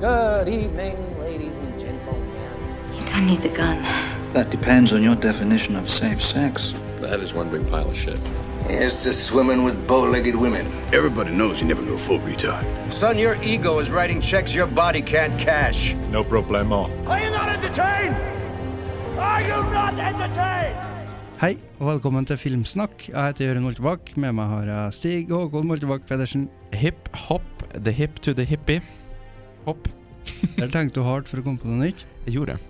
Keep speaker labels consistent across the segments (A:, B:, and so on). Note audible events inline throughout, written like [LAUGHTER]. A: Good evening, ladies and gentlemen.
B: You don't need the gun.
C: That depends on your definition of safe sex.
D: The head is one big pile of shit.
E: Here's to swimming with bow-legged women.
F: Everybody knows you never go full retard.
G: Son, your ego is writing checks your body can't cash.
H: No problemo.
I: Are you not entertained? Are you not entertained?
J: Hei, og velkommen til Filmsnakk. Jeg heter Jørund Moltebakk. Med meg har jeg Stig Håkon Moltebakk Pedersen.
K: Hip hop, the hip to the hippie. Hopp.
J: Der tenkte du hardt for å komme på noe nytt. Eh,
K: Jeg gjorde det.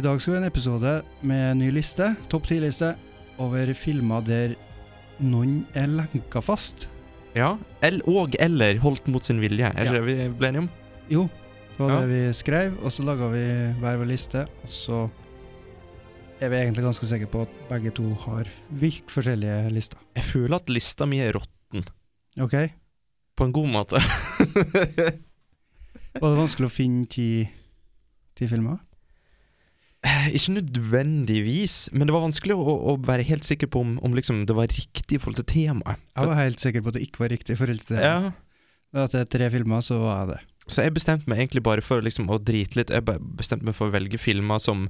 J: I dag skal vi ha en episode med en ny liste, topp ti-liste, over filmer der noen er lenka fast.
K: Ja. El og eller holdt mot sin vilje. Er ikke
J: Ja.
K: det vi ble enige om?
J: Jo, det var
K: Ja.
J: det vi skrev, og så laga vi hver vår liste, og så er vi egentlig ganske sikre på at begge to har vilt forskjellige lister.
K: Jeg føler at lista mi er rått
J: OK?
K: på en god måte. [LAUGHS]
J: Var det vanskelig å finne ti, ti filmer?
K: ikke nødvendigvis, men det var vanskelig å, å være helt sikker på om, om liksom det var riktig i forhold til temaet.
J: Jeg var helt sikker på at det ikke var riktig. i forhold til det.
K: Ja.
J: At det er tre filmer, så var jeg det.
K: Så jeg bestemte meg egentlig bare for liksom, å drite litt. Jeg bare bestemte meg for å velge filmer som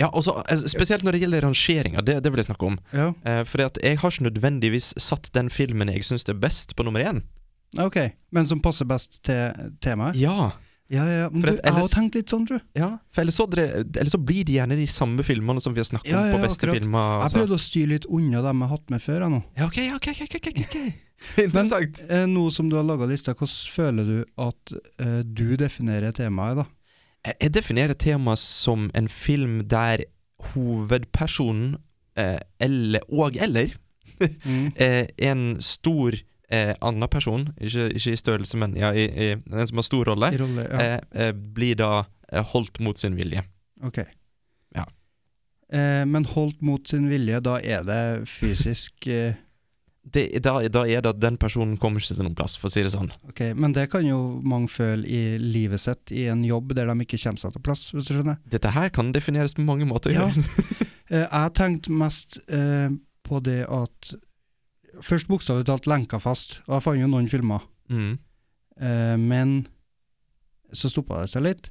K: Ja, også, eh, Spesielt når det gjelder rangeringa, det, det vil jeg snakke om.
J: Ja,
K: Eh, fordi at jeg har ikke nødvendigvis satt den filmen jeg syns er best, på nummer én.
J: OK. Men som passer best til temaet?
K: Ja,
J: Ja, ja, men du,
K: For at
J: jeg har
K: ellers-
J: tenkt litt sånn, tror jeg.
K: Ja, for ellers så, dere, ellers så blir det gjerne de samme filmene som vi har snakket
J: Ja,
K: om
J: ja,
K: på beste
J: akkurat.
K: filmer.
J: Jeg
K: Altså.
J: prøvde å styre litt unna dem jeg har hatt med før. Jeg, nå.
K: Ja, ok, ja, ok, ok, ok, ok, [LAUGHS] ok. Interessant.
J: Eh, nå som du har laga lista, hvordan føler du at eh, du definerer temaet, da?
K: Jeg- Jeg definerer temaet som en film der hovedpersonen eh, eller, og eller eh, en stor eh, annen person, ikke, ikke i størrelse, men ja, i, i, en som har stor rolle,
J: I rolle, ja.
K: eh, eh, blir da eh, holdt mot sin vilje.
J: Ok.
K: Ja.
J: Eh, men holdt mot sin vilje, da er det fysisk eh,
K: Det, da, da er det at den personen kommer ikke til noen plass, for å si det sånn.
J: Ok, men det kan jo mange føle i livet sitt, i en jobb der de ikke kommer seg til plass, hvis du skjønner?
K: Dette her kan defineres på mange måter.
J: Ja.
K: Jørgen.
J: Eh, jeg tenkte mest eh, på det at Først bokstavelig talt lenka fast, og jeg fant jo noen filmer,
K: [LAUGHS] Mm.
J: eh, men så stoppa det seg litt.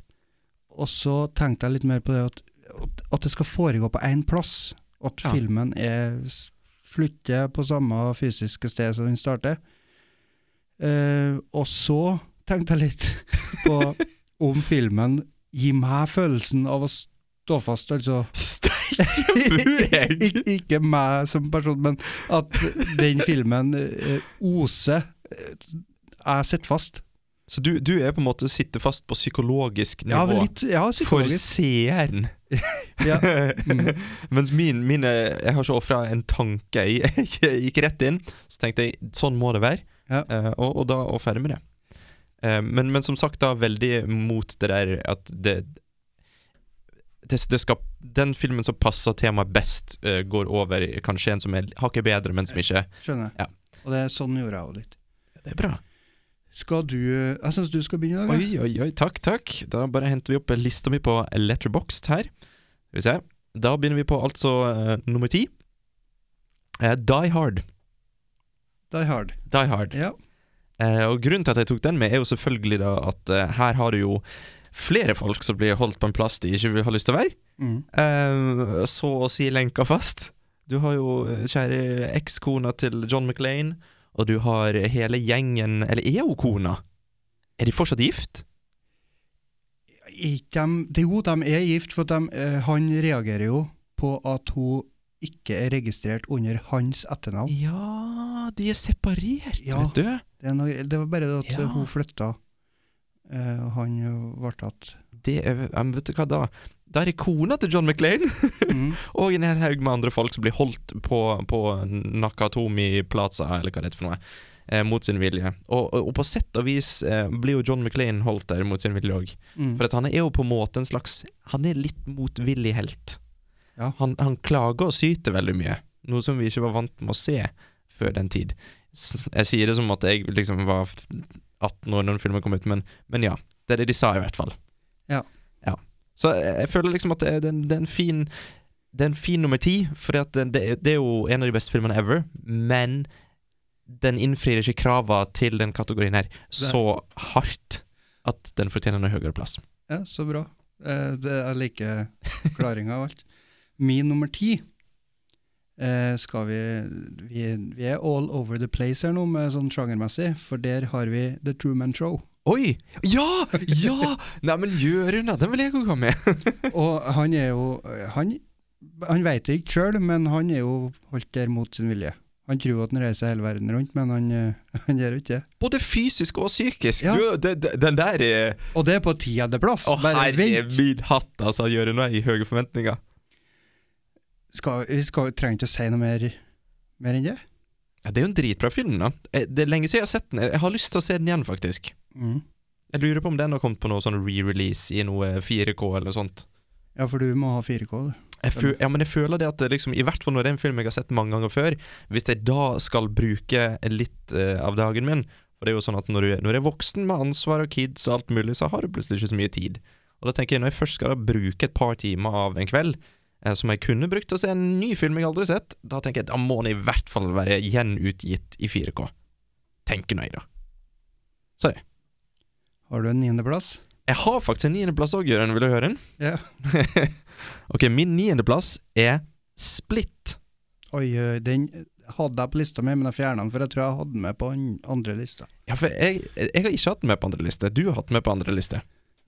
J: Og så tenkte jeg litt mer på det at, at det skal foregå på én plass. At
K: Ja.
J: filmen er, s- slutter på samme fysiske sted som den starter. Eh, og så tenkte jeg litt [LAUGHS] på
K: [LAUGHS]
J: om filmen gir meg følelsen av å stå fast, altså.
K: Steike
J: [LAUGHS]
K: bureg!
J: Ik ikke meg som person, men at den filmen eh, oser eh, Jeg sitter fast.
K: Så du, du er på en måte sitter fast på psykologisk nivå
J: Ja, vel, litt ja,
K: for
J: psykologisk.
K: seeren.
J: Ja.
K: [LAUGHS] Mm. Mens min, min eh, Jeg har ikke ofra en tanke. Jeg, [LAUGHS] jeg gikk rett inn, så tenkte jeg sånn må det være,
J: Ja.
K: Eh, og, og da og ferdig med det. Eh, men, men som sagt, da veldig mot det der at det det, det skal, den filmen som passer temaet best, eh, går over i kanskje en som er hakket bedre, men som ikke
J: Skjønner.
K: Ja.
J: Og det er sånn gjorde jeg òg litt.
K: Det er bra.
J: Skal du Jeg syns du skal begynne i dag. ja.
K: Oi, oi, oi, takk, takk. Da bare henter vi opp lista mi på Letterboxd her. Skal vi se. Da begynner vi på altså eh, nummer ti. Eh, Die Hard.
J: Die Hard.
K: Die Hard.
J: Ja.
K: Eh, og grunnen til at jeg tok den med, er jo selvfølgelig da at eh, her har du jo flere folk som blir holdt på en plass de ikke vil- har lyst til å være.
J: Mm.
K: Eh, så å si lenka fast. Du har jo eh, kjære ekskona til John McLean, og du har hele gjengen Eller er hun kona? Er de fortsatt gift?
J: Ikke dem, det, jo, de er gift, for at dem, eh, han reagerer jo på at hun ikke er registrert under hans etternavn.
K: Ja, de er separert,
J: Ja.
K: vet du.
J: Det, er noe, gre- det var bare det at
K: Ja.
J: hun flytta, eh, og han ble tatt.
K: Det er, ja, men vet du hva da? Da er det kona til John McLean
J: Mm.
K: [LAUGHS] og en hel haug med andre folk som blir holdt på, på Nakatomi Plaza, eller hva det heter for noe, eh, mot sin vilje. Og, og, og på sett og vis eh, blir jo John McLean holdt der mot sin vilje òg.
J: Mm.
K: For at han er jo på en måte en slags Han er litt motvillig helt.
J: Ja.
K: Han, han klager og syter veldig mye, noe som vi ikke var vant med å se før den tid. S jeg sier det som at jeg liksom var f- 18 år når den filmen kom ut, men, men ja. Det er det de sa, i hvert fall.
J: Ja.
K: Ja. Så jeg, jeg føler liksom at det, er- det, er en- det er en fin Det er en fin nummer ti, for det, det, er- det er jo en av de beste filmene ever, men den innfrir ikke krava til den kategorien her så hardt at den fortjener en høyere plass.
J: Ja, så bra. Eh, det, jeg liker klaringa av alt. Min nummer ti eh, skal vi, vi Vi er all over the place her nå, med sånn sjangermessig, for der har vi The Truman Show.
K: Oi! Ja! Ja! Nei, men gjør unna! Den vil jeg òg ha med.
J: Og han er jo Han, han veit det ikke sjøl, men han er jo holdt der mot sin vilje. Han tror at han reiser hele verden rundt, men han, eh, [LAUGHS] han gjør jo ikke det.
K: Både fysisk og psykisk.
J: Ja.
K: Du, den, den- den der er
J: Og det er på tiendeplass!
K: Å,
J: Bare
K: herre
J: vent!
K: min hatt, altså. Gjør unna i høye forventninger.
J: Skal, vi skal, trenger ikke å si noe mer, mer enn det.
K: Ja, det er jo en dritbra film, da. Eh, Det er lenge siden jeg har sett den. Jeg har lyst til å se den igjen, faktisk.
J: Mm.
K: Jeg lurer på om den har kommet på noe sånn re-release i noe 4K eller noe sånt.
J: Ja, for du må ha 4K, du.
K: Jeg fø- ja, men jeg føler det at det liksom, i hvert fall når det er en film jeg har sett mange ganger før, hvis jeg da skal bruke litt eh, av dagen min For det er jo sånn at når du, når jeg er voksen med ansvar og kids og alt mulig, så har du plutselig ikke så mye tid. Og da tenker jeg, når jeg først skal da bruke et par timer av en kveld, eh, som jeg kunne brukt til å se en ny film jeg aldri har sett, da tenker jeg da må den i hvert fall være gjenutgitt i 4K. Tenker nøye, da.
J: Har du en niendeplass?
K: Jeg har faktisk en niendeplass òg, Jørgen. Vil du høre den?
J: Ja.
K: [LAUGHS] ok, min niendeplass er Split.
J: Oi, oi, den hadde jeg på lista mi, men jeg fjerna den, for jeg tror jeg hadde den med på den andre lista.
K: Ja, for jeg, jeg har ikke hatt den med på andre liste. Du har hatt den med på andre liste.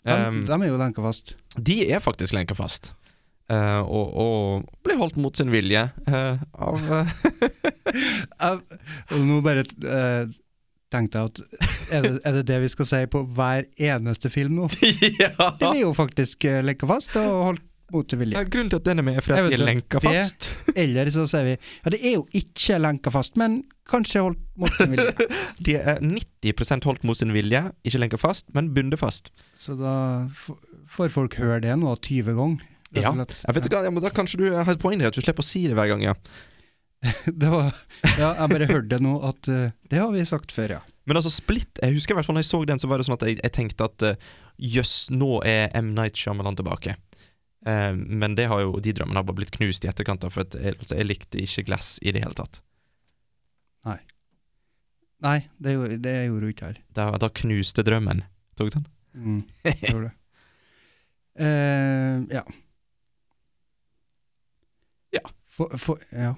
J: De,
K: Um,
J: de er jo lenka fast.
K: de er faktisk lenka fast. Eh, og, og ble holdt mot sin vilje eh, av eh, [LAUGHS]
J: Jeg, og nå bare eh, tenkte jeg at er det, er det det vi skal si på hver eneste film nå?
K: Ja!
J: Den er jo faktisk uh, lenka fast og holdt mot til
K: Ja,
J: vilje.
K: Grunnen til at den er med, er fordi
J: Jeg
K: at de er
J: vet det.
K: lenka
J: Det-
K: fast.
J: Eller så sier vi ja, det er jo ikke lenka fast, men kanskje holdt mot til vilje.
K: De er 90 holdt mot sin vilje, ikke lenka fast, men bundet fast.
J: Så da f- får folk høre det nå 20 ganger. rett og
K: Ja,
J: slett.
K: jeg vet ikke, hva, ja, men Da kanskje du har et poeng der, at du slipper å si det hver gang. ja
J: Det var, ja, jeg bare hørte nå at eh, Det har vi sagt før, ja.
K: Men altså Split Jeg husker i hvert fall når jeg så den, så var det sånn at jeg, jeg tenkte at eh, jøss, nå er M. Night Shyamalan tilbake. Eh, men det har jo, de drømmene har bare blitt knust i etterkant, da, for at jeg, altså, jeg likte ikke Glass i det hele tatt.
J: Nei, det, gjorde- det gjorde hun ikke her.
K: Da, da knuste drømmen. Tok den?
J: Mm, jeg gjorde det. Eh, ja.
K: Ja.
J: For, for, ja.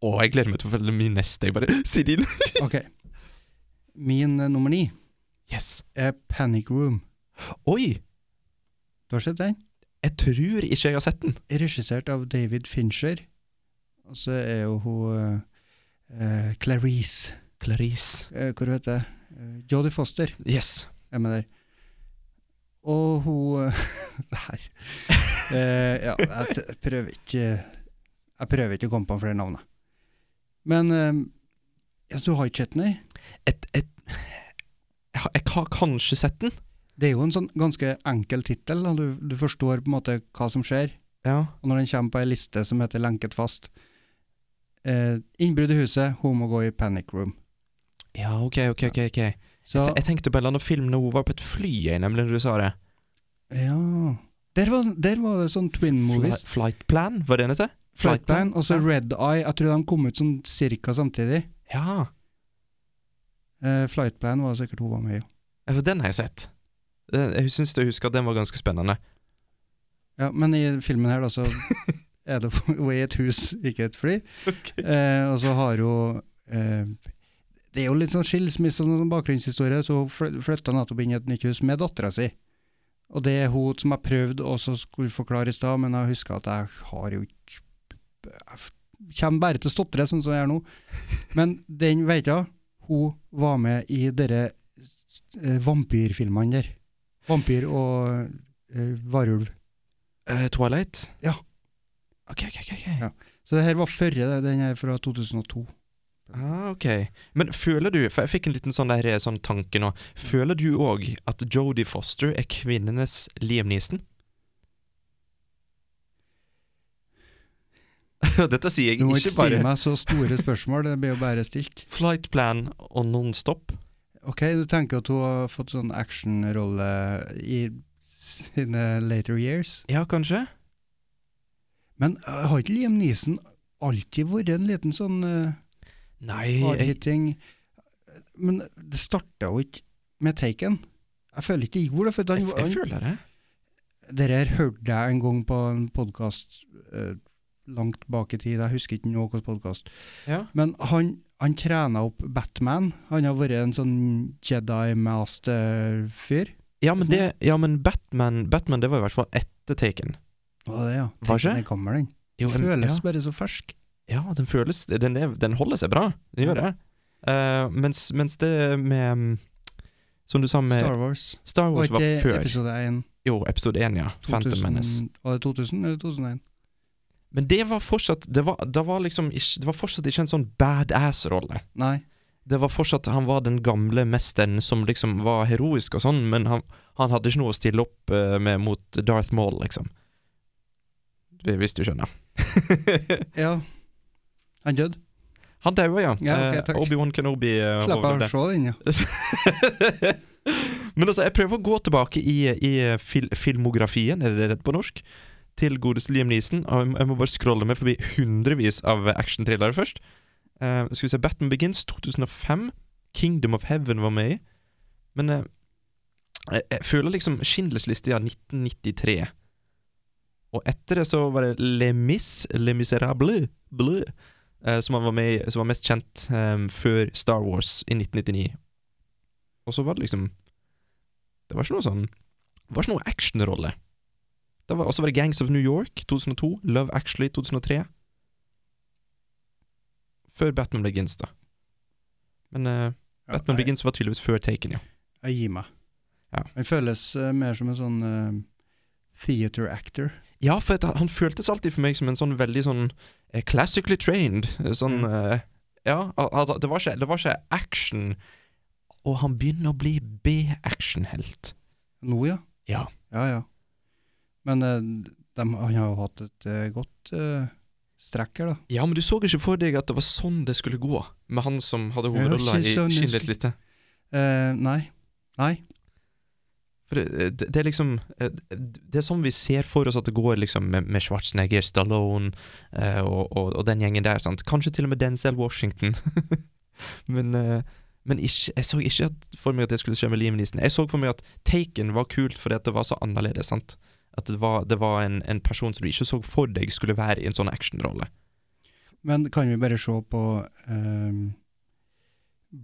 K: Å, jeg gleder meg til å følge min neste. Jeg bare [LAUGHS] Si din!
J: Ok. Min eh, nummer ni
K: Yes!
J: er Panic Room.
K: Oi!
J: Du har sett den?
K: Jeg tror ikke jeg har sett den.
J: Regissert av David Fincher. Og så er jo hun eh, eh, Clarice
K: Clarice.
J: uh, Hvor heter det? Eh, Jodie Foster
K: Yes.
J: er med der. Og hun eh, [LAUGHS] Nei. Eh, ja, jeg t- prøver ikke Jeg prøver ikke å komme på flere navn. jeg. Men eh, ja, du har ikke sett den? nei?
K: Et, et, jeg, har- jeg har kanskje sett den.
J: Det er jo en sånn ganske enkel tittel. da. Du, du forstår på en måte hva som skjer.
K: Ja.
J: Og når den kommer på ei liste som heter 'Lenket fast' eh, Innbrudd i huset, hun må gå i panic room.
K: Ja, ok, ok, ok. ok
J: Så
K: Jeg tenkte på en eller annen film når hun var på et fly, jeg, nemlig, når du sa det.
J: ja Der var, der var det sånn twin movies.
K: Fli- Flight Plan, var det den heter? Flight
J: Flightband
K: Plan,
J: og så
K: ja.
J: Red Eye. Jeg tror de kom ut sånn cirka samtidig.
K: Ja,
J: Eh, Flightband var sikkert hun var med i.
K: ja, for den har jeg sett. Den- Jeg syns jeg husker at den var ganske spennende.
J: Ja, men i filmen her, da, så er det [LAUGHS] hun er i et hus, ikke et fly. Eh, og så har hun eh, Det er jo litt sånn skilsmisse og noen bakgrunnshistorie, så hun fly- flytta nettopp inn i et nytt hus med dattera si. Og det er hun som jeg prøvde også skulle forklare i stad, men jeg husker at jeg har jo ikke Jeg f- kommer bare til å stotre, sånn som jeg gjør nå. Men den veit jeg, hun var med i dere eh, vampyrfilmene der. Vampyr og eh, varulv.
K: Eh, Twilight?
J: Ja.
K: Ok, ok, ok. ok.
J: Ja. Så det her var førre, det- den er fra 2002.
K: Ah, ok. Men føler du, for jeg fikk en liten sånn, der, eh, sånn tanke nå, føler du òg at Jodie Foster er kvinnenes Liam Neeson? [LAUGHS] Dette sier jeg
J: Du må ikke
K: ikke
J: stille
K: bare.
J: meg så store spørsmål, det blir jo bare stilt.
K: Flight Plan og Nonstop?
J: Ok, du tenker at hun har fått sånn actionrolle i sine later years.
K: Ja, kanskje?
J: Men øh, har ikke Liam Neeson alltid vært en liten sånn uh,
K: Nei, jeg,
J: hardhitting Men det starta jo ikke med Taken. Jeg føler ikke det gjorde det, for
K: Jeg,
J: han,
K: f- jeg
J: han,
K: føler det.
J: Dette her hørte jeg en gang på en podkast langt bak i tid, jeg husker ikke noen podkast.
K: Ja.
J: Men han, han trena opp Batman. Han har vært en sånn Jedi master-fyr.
K: Ja, men, det, ja, men Batman, Batman det var i hvert fall etter Taken.
J: Var det, ja.
K: Var ikke?
J: Den kommer, den.
K: Jo, en-
J: Føles
K: ja.
J: bare så fersk.
K: Ja, den føles Den, er, den holder seg bra. Den gjør det. Eh, mens, mens det med mm, Som du sa med Star,
J: Star Wars. Var
K: Wars var
J: ikke
K: før.
J: episode 1
K: Jo, episode 1, ja. Phantom
J: 2000
K: Menace.
J: Var det 2000 eller 2001?
K: Men det var fortsatt Det var, det var liksom ikke, Det var fortsatt ikke en sånn badass-rolle.
J: Nei.
K: Det var fortsatt Han var den gamle mesteren som liksom var heroisk og sånn, men han, han hadde ikke noe å stille opp eh, med mot Darth Maul, liksom. Hvis
J: [LAUGHS]
K: du skjønner.
J: Ja. Han døde.
K: han daua, ja.
J: Ja, ok,
K: Eh,
J: takk.
K: Obi-Wan Kenobi uh,
J: Slapp av å se den, ja.
K: [LAUGHS] Men altså, jeg prøver å gå tilbake i, i fil filmografien, er det rett på norsk, til godeste Liam Neeson. Og jeg må- jeg må bare scrolle meg forbi hundrevis av actionthrillere først. Eh, skal vi se Batman Begins 2005. Kingdom of Heaven var med i. Men eh, jeg, jeg føler liksom Schindlers liste av 1993. Og etter det så var det Le Mis, Le Miserable, blø, eh, som, han var med, i- som var mest kjent eh, før Star Wars i 1999. Og så var det liksom Det var ikke noe sånn Det var ikke noe actionrolle. Det var- Og så var det Gangs of New York 2002, Love Actually 2003. Før Batman Begins, da. Men eh,
J: Ja,
K: Batman
J: nei,
K: Begins var tydeligvis før Taken, ja.
J: Jeg gir meg.
K: Ja.
J: Han føles eh, mer som en sånn eh, theater actor.
K: Ja, for at han, han føltes alltid for meg som en sånn veldig sånn eh, classically trained. eh, Sånn eh, Ja, al- altså, det var, ikke, det var ikke action. Og han begynner å bli B-actionhelt.
J: Nå, ja.
K: Ja.
J: Ja, ja. Men eh, dem- han har jo hatt et eh, godt eh, strekk her, da.
K: Ja, men du så ikke for deg at det var sånn det skulle gå med han som hadde
J: Jeg har
K: hovedrolla
J: ikke
K: i
J: sånn-
K: Schindlers liste?
J: Eh, nei. Nei.
K: For det, det, det er liksom eh, Det er sånn vi ser for oss at det går liksom med, med Schwarzenegger, Stallone eh, og, og, og den gjengen der. sant? Kanskje til og med Denzel Washington. [LAUGHS] men eh, men ikke, jeg så ikke at, for meg at det skulle skje med Liam Neeson. Jeg så for meg at Taken var kult fordi at det var så annerledes. sant? At det var, det var en, en person som du ikke så for deg skulle være i en sånn actionrolle.
J: Men kan vi bare se på eh,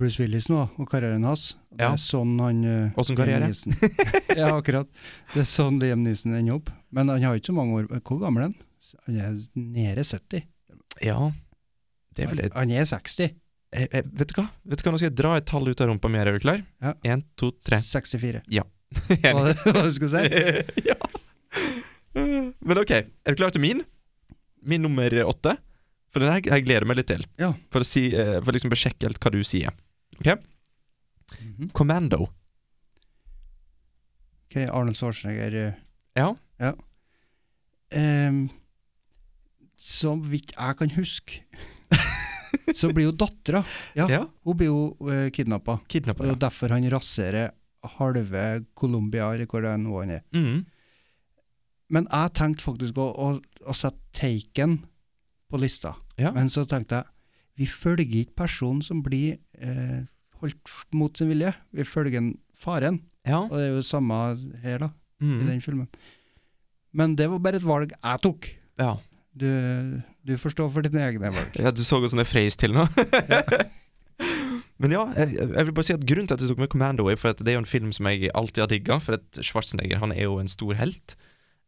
J: Bruce Willis nå, og karrieren hans? Det
K: Ja.
J: er sånn han eh,
K: Åssen
J: Liam
K: karriere?
J: Neeson-
K: [LAUGHS]
J: ja, akkurat. Det er sånn Liam Neeson ender opp. Men han har jo ikke så mange år. Hvor gammel er han? Han er nede 70.
K: Ja, det er vel
J: Han, han er 60.
K: jeg, jeg, Eh, vet du hva? Vet du hva? Nå skal jeg dra et tall ut av rumpa mi. her, Er du klar?
J: Ja.
K: Én, to,
J: [LAUGHS]
K: tre.
J: 64.
K: Enig.
J: Var det hva [LAUGHS] du skulle si?
K: [LAUGHS] ja. Men OK, er du klar til min? Min nummer åtte? For den her jeg gleder meg litt til.
J: Ja.
K: For å si, eh, for liksom besjekke helt hva du sier.
J: Mhm.
K: Commando.
J: Ok, Arnold Schwarzenegger. eh,
K: Ja.
J: Ehm, så vidt jeg kan
K: [LAUGHS]
J: huske, så blir jo dattera Ja.
K: ja.
J: Hun blir jo uh, kidnappa. Og
K: Kidnappa.
J: det er
K: Ja.
J: jo derfor han raserer halve Colombia, eller hvor det er nå han er.
K: Mm.
J: Men jeg tenkte faktisk å, å, å sette Taken på lista.
K: Ja.
J: Men så tenkte jeg vi følger ikke personen som blir eh, holdt f- mot sin vilje, vi følger en faren.
K: ja.
J: Og det er jo samme her, da, i
K: Mm.
J: den filmen. Men det var bare et valg jeg tok.
K: ja.
J: Du, du forstår for dine egne valg.
K: Ja, du så jo sånn jeg freis til nå. [LAUGHS] Men ja, jeg, jeg vil bare si at grunnen til at jeg tok med Commando, er for at det er jo en film som jeg alltid har digga. For at Schwarzenegger han er jo en stor helt.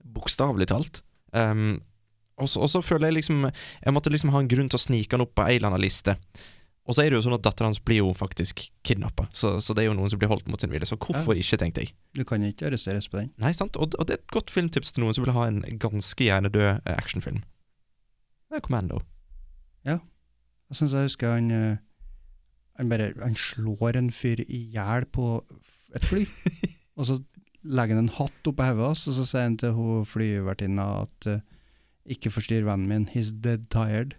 K: Bokstavelig talt. Um, og så og så føler jeg liksom Jeg måtte liksom ha en grunn til å snike han opp på ei eller annen liste. Og så er det jo sånn at dattera hans blir jo faktisk kidnappa, så, så det er jo noen som blir holdt mot sin vilje. Så hvorfor ikke, tenkte jeg.
J: Du kan ikke arresteres på den.
K: Nei, sant? Og, og det er et godt filmtips til noen som vil ha en ganske hjernedød eh, actionfilm. Det er Commando.
J: Jeg syns jeg husker han eh, Han bare Han slår en fyr i hjel på f- et fly, og så legger han en hatt oppå hodet hans, og så sier han til hun flyvertinna at eh, ikke forstyrr vennen min, he's dead tired.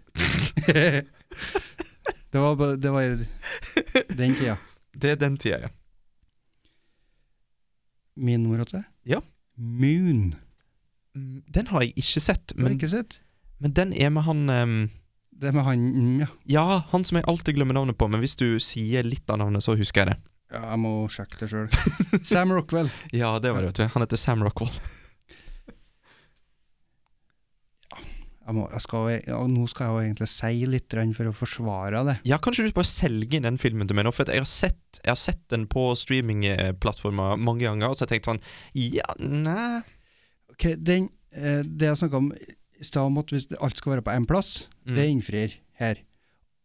J: det var ba- Det var i den tida.
K: Det er den tida, ja.
J: Min nummer åtte?
K: Ja.
J: Moon.
K: Mm, Den har jeg ikke sett,
J: Har du
K: men,
J: ikke sett?
K: men den er med han ehm,
J: Det med han mm, ja.
K: Ja, han som jeg alltid glemmer navnet på, men hvis du sier litt av navnet, så husker jeg det.
J: Ja, jeg må sjekke det sjøl. Sam Rockwell.
K: Ja, det var det, vet du. Han heter Sam Rockwell.
J: Jeg må, jeg skal, jo- ja, nå skal jeg jo egentlig si litt grann for å forsvare det.
K: Ja, kanskje du bare selger inn den filmen til meg nå, for at jeg har sett, jeg har sett den på streamingplattformer mange ganger, og så har jeg tenkt sånn Ja, nei
J: Ok, den, eh, det jeg snakka om i stad, om at hvis det- alt skal være på én plass,
K: Mm.
J: det innfrir her.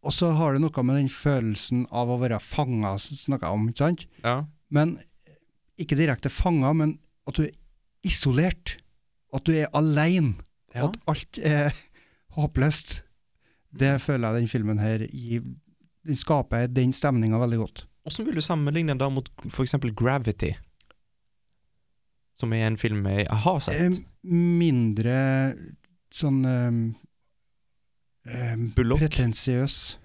J: Og så har det noe med den følelsen av å være fanga som jeg snakka om, ikke sant?
K: Ja.
J: Men eh, ikke direkte fanga, men at du er isolert. At du er aleine.
K: Ja.
J: At alt er [LAUGHS] håpløst. Det føler jeg den filmen her gir. Den skaper den stemninga veldig godt.
K: Hvordan vil du sammenligne den da mot f.eks. Gravity? Som er en film jeg har sett.
J: Eh, mindre sånn eh, um,
K: Bullock?
J: Pretensiøs.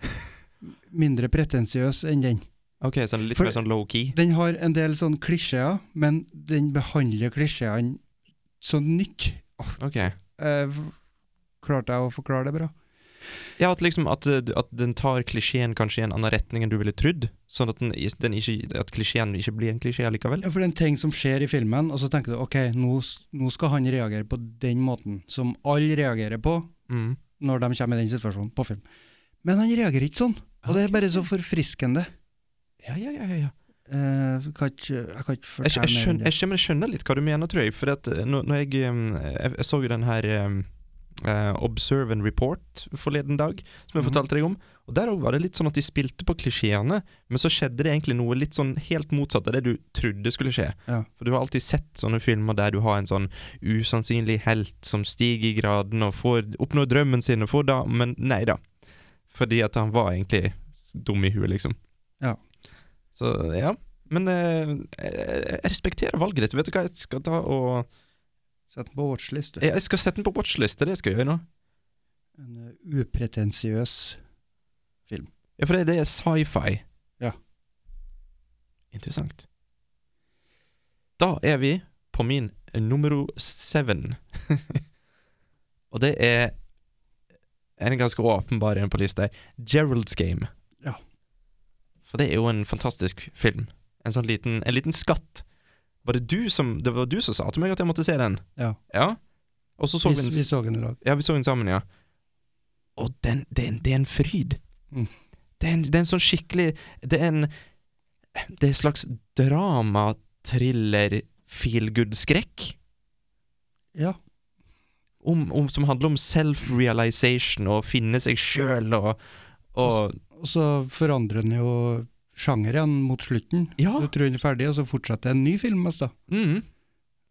J: Mindre pretensiøs enn den.
K: Ok, sånn litt
J: for-
K: mer sånn low-key.
J: Den har en del sånn klisjeer, men den behandler klisjeene så nytt.
K: Ok.
J: Eh, f- klarte jeg å forklare det bra?
K: Ja, at liksom at, eh, at den tar klisjeen kanskje i en annen retning enn du ville trodd. Sånn at, den, is- den ikke, at klisjeen ikke blir en klisjé likevel.
J: Ja, for det er en ting som skjer i filmen, og så tenker du ok, nå, s- nå skal han reagere på den måten som alle reagerer på
K: Mm.
J: når de kommer i den situasjonen på film. Men han reagerer ikke sånn, og det er bare så forfriskende.
K: Ja, ja, ja, ja, ja.
J: Eh, kan ikke, jeg kan ikke
K: Jeg, skj-
J: fortelle
K: jeg,
J: mer enn
K: skjønner,
J: det.
K: jeg, skjønner, jeg skjønner litt hva du mener, tror jeg. For at eh, når, når jeg, em, jeg Jeg så jo den her em, eh, Observe and Report forleden dag, som jeg
J: Mhm.
K: fortalte deg om. Og Der òg var det litt sånn at de spilte på klisjeene, men så skjedde det egentlig noe litt sånn helt motsatt av det du trodde skulle skje.
J: Ja.
K: For du har alltid sett sånne filmer der du har en sånn usannsynlig helt som stiger i graden og får, oppnår drømmen sin og får da Men nei da. Fordi at han var egentlig s- dum i huet, liksom.
J: Ja.
K: Så ja. Men eh, jeg jeg respekterer valget ditt. Vet du hva, jeg skal ta og
J: Sett den på watchlist, du.
K: Jeg jeg skal sette den på watchlist, det er det jeg skal gjøre nå.
J: En eh, upretensiøs
K: Ja, for det, det er sci-fi.
J: Ja.
K: Interessant. Da er vi på min eh, numero seven. [LAUGHS] og det er en ganske åpenbar en på lista. her. Gerald's Game.
J: Ja.
K: For det er jo en fantastisk film. En sånn liten, en liten skatt. Var det du som Det var du som sa til meg at jeg måtte se den?
J: Ja.
K: ja? Og så så
J: Vi,
K: vi den
J: vi så den i lag.
K: ja, vi så den sammen, ja. Og den, den, det er en fryd.
J: Mm.
K: Det, er en, det er en sånn skikkelig Det er en Det er en slags drama, thriller, feel good-skrekk.
J: Ja.
K: Om, om, som handler om self-realization og finne seg sjøl og, og
J: Og så forandrer den jo sjangeren mot slutten.
K: Ja.
J: Du tror den er ferdig, og så fortsetter en ny film. mest da.
K: Mm,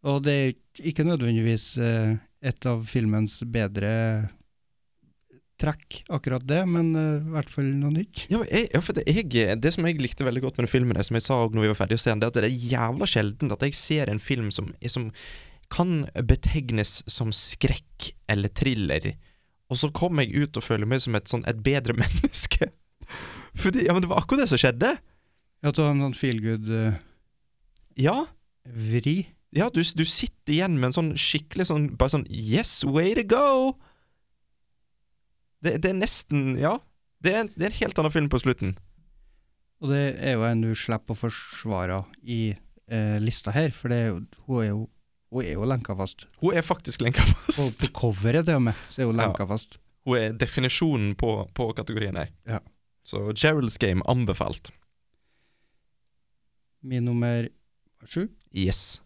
J: Og det er ikk- ikke nødvendigvis eh, et av filmens bedre trekk, akkurat det, men eh, i hvert fall noe nytt.
K: ja, jeg, ja, for det, jeg, det som jeg likte veldig godt med den filmen, er, som jeg sa også når vi var ferdige å se den, det er at det er jævla sjelden at jeg ser en film som, som kan betegnes som skrekk eller thriller. Og så kom jeg ut og føler meg som et, sånn, et bedre [LAUGHS] menneske. Fordi, ja, men det var akkurat det som skjedde.
J: Ja, du har en sånn feel good-vri.
K: Ja, ja du, du sitter igjen med en sånn skikkelig sånn Bare sånn Yes, way to go! Det, det er nesten Ja. Det er, en, det er en helt annen film på slutten.
J: Og det er jo en du slipper å forsvare i eh, lista her, for det er jo, hun er jo hun er jo lenka fast.
K: Hun er faktisk lenka
J: På,
K: fast.
J: på coveret til og med, så er hun lenka fast.
K: Hun er definisjonen på, på kategorien her.
J: Ja.
K: Så Gerald's Game anbefalt.
J: Min nummer sju.
K: Yes.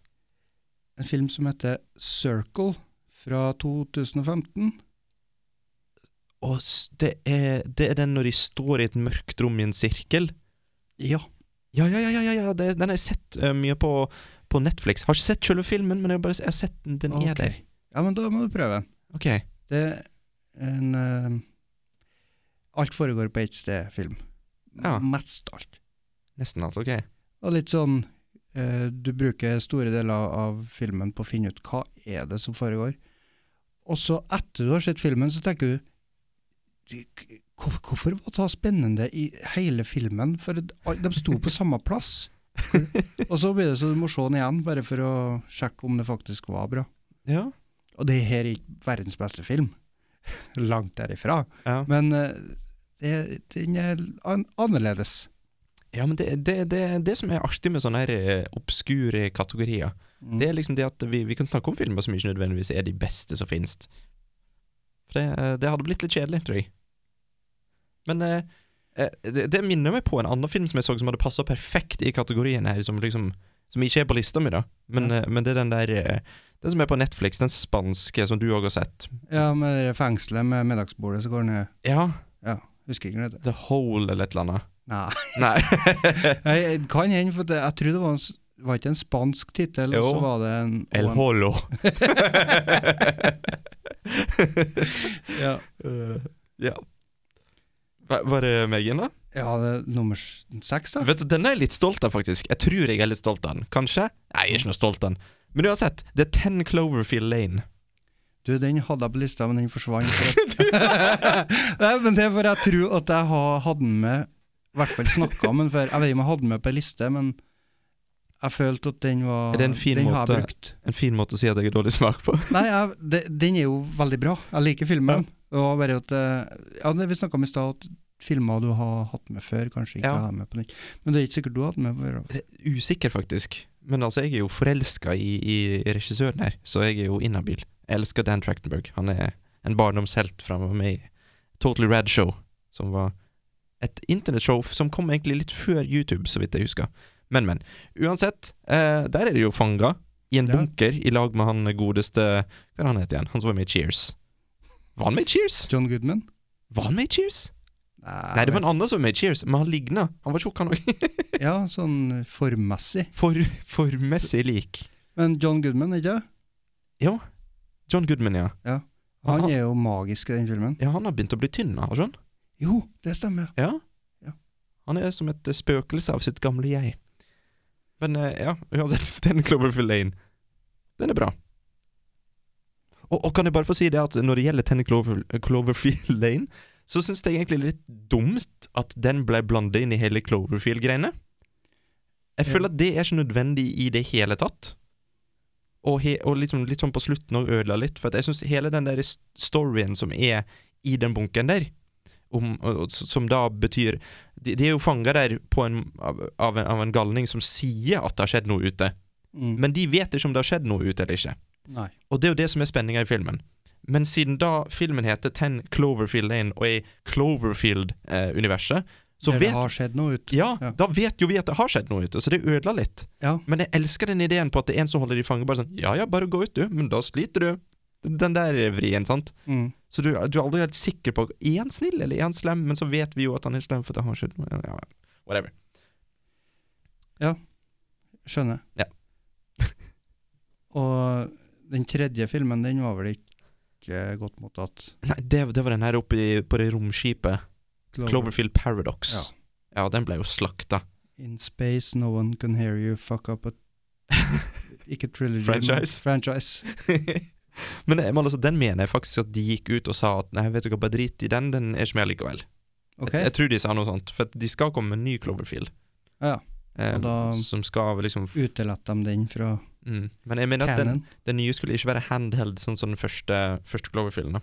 J: En film som heter Circle fra 2015.
K: Og s- det er, det er den når de står i et mørkt rom i en sirkel.
J: Ja.
K: Ja, ja, ja, ja, ja, ja. Det, den har jeg sett eh, mye på, på Netflix. Har ikke sett selve filmen, men jeg, har bare, jeg har sett den, den
J: ok.
K: er der.
J: Ja, men da må du prøve den.
K: Ok.
J: Det er en eh, Alt foregår på ett sted-film.
K: Ja.
J: Mest alt.
K: Nesten alt. Ok.
J: Og litt sånn eh, Du bruker store deler av filmen på å finne ut hva er det som foregår. Og så etter du har sett filmen, så tenker du "Du, k- hvor- Hvorfor var det så spennende i hele filmen? For det- al- de sto på samme plass. Hvor- Og så blir det så du må se den igjen, bare for å sjekke om det faktisk var bra.
K: [LAUGHS] Ja.
J: Og det her er ikke verdens beste film. [LAUGHS] Langt derifra.
K: Ja.
J: Men eh, det, den er an annerledes.
K: Ja, men det er det, det, det som er artig med sånne her eh, obskure kategorier.
J: Mm.
K: Det er liksom det at vi, vi kan snakke om filmer som ikke nødvendigvis er de beste som finnes. For det, eh, det hadde blitt litt kjedelig, tror jeg. Men eh, eh, det, det minner meg på en annen film som jeg så som hadde passa perfekt i kategorien her, som liksom Som ikke er på lista mi, da. Men, eh, men det er den der eh, Den som er på Netflix, den spanske som du òg har sett.
J: Ja, med det fengselet med middagsbordet så går han ned.
K: Ja,
J: Ja, husker ikke hva det heter.
K: The Hole eller et eller annet.
J: Nei. [LAUGHS]
K: Nei. [LAUGHS]
J: Nei, det kan hende, for det, jeg tror det var en, s- var ikke en spansk tittel, og
K: Jo.
J: så var det en
K: El
J: og en-
K: Holo.
J: Ja,
K: Eh, ja. Hva- Var det meg igjen, da?
J: ja det er nummer s- seks, da.
K: Vet du, Den er jeg litt stolt av, faktisk. Jeg tror jeg er litt stolt av den. Kanskje? Nei, jeg er ikke noe stolt av den. Men uansett, det er Ten Cloverfield Lane.
J: [LAUGHS] Du, den hadde jeg på lista, men den forsvant.
K: [LAUGHS]
J: Nei, men det er for jeg tror at jeg ha- hadde den med I hvert fall snakka om den før. Jeg vet ikke om jeg hadde den med på ei liste, men jeg følte at den var
K: Er det en fin
J: Den har jeg
K: måte-
J: brukt.
K: En fin måte å si at jeg har dårlig smak på.
J: Nei, jeg, det, den er jo veldig bra. Jeg liker filmen. Det var bare at eh, Ja, det vi snakka om i stad, at filmer du har hatt med før, kanskje ikke
K: Ja.
J: har med på nytt. Men det er ikke sikkert du har hatt med før. da.
K: Jeg er Usikker, faktisk. Men altså, jeg er jo forelska i, i regissøren her, så jeg er jo inhabil. Jeg elsker Dan Trachtenberg. Han er en barndomshelt fra meg i Totally Rad Show, som var et internettshow som kom egentlig litt før YouTube, så vidt jeg husker. Men, men. Uansett, eh, der er de jo fanga i en
J: Ja.
K: bunker i lag med han godeste Hva er det han heter igjen? Han som var med i Cheers. Var han med i Cheers?
J: John Goodman?
K: Var han med i Cheers? Nei, det var en annen som var med i Cheers, men han ligna. Han var tjukk, han òg.
J: Ja, sånn formmessig.
K: [LAUGHS] For, formessig lik.
J: Men John Goodman, ikke det?
K: John Goodman, ja.
J: Han
K: Aha.
J: er jo magisk i den filmen.
K: Ja, han har begynt å bli tynn, har han?
J: Jo, det stemmer.
K: Ja.
J: Ja.
K: Han er som et eh, spøkelse av sitt gamle jeg. Men eh, ja, uansett, [LAUGHS] den Cloverfield Lane, den er bra. Og, og kan jeg bare få si det at når det gjelder Ten Clover, Cloverfield Lane, så syns jeg egentlig det er litt dumt at den ble blanda inn i hele Cloverfield-greiene. Jeg
J: Ja.
K: føler at det er ikke nødvendig i det hele tatt. Og, he, og liksom, litt sånn på slutten òg ødela litt, for at jeg syns hele den der s- storyen som er i den bunken der, om, og, og, som da betyr De, de er jo fanga der på en, av, av, en, av en galning som sier at det har skjedd noe ute,
J: Mm.
K: men de vet ikke om det har skjedd noe ute eller ikke.
J: Nei.
K: Og det er jo det som er spenninga i filmen. Men siden da filmen heter Ten Cloverfield Lane og er Cloverfield-universet, så
J: Der det
K: vet
J: har skjedd noe ut.
K: ja,
J: Ja.
K: da vet jo vi at det har skjedd noe ute, så det ødela litt.
J: Ja.
K: Men jeg elsker den ideen på at det er en som holder de fanget, bare sånn Ja ja, bare gå ut, du, men da sliter du. Den der vrien, sant.
J: Mm.
K: Så du, du er aldri helt sikker på Er han snill eller er han slem, men så vet vi jo at han er slem, for det har skjedd noe. Ja, ja. Whatever.
J: Skjønner.
K: Ja.
J: [LAUGHS] Og den tredje filmen, den var vel ikke godt mottatt.
K: Nei, det, det var den her oppe i, på det romskipet. Cloverfield Paradox.
J: Ja.
K: Ja, den ble jo slakta.
J: In space, no one can hear you, fuck
K: [LAUGHS]
J: up a Ikke trilogy. men
K: Franchise.
J: Franchise.
K: [LAUGHS] men, men altså, den mener jeg faktisk at de gikk ut og sa at nei, vet du hva, bare drit i den, den er ikke med likevel.
J: Ok,
K: Jeg, jeg tror de sa noe sånt, for at de skal komme med en ny Cloverfield.
J: Ja,
K: Eh,
J: og da-
K: som skal liksom f
J: utelett dem den fra
K: mm. Men jeg mener at den,
J: Canon.
K: den nye skulle ikke være handheld, sånn som den første, første Cloverfielden. da.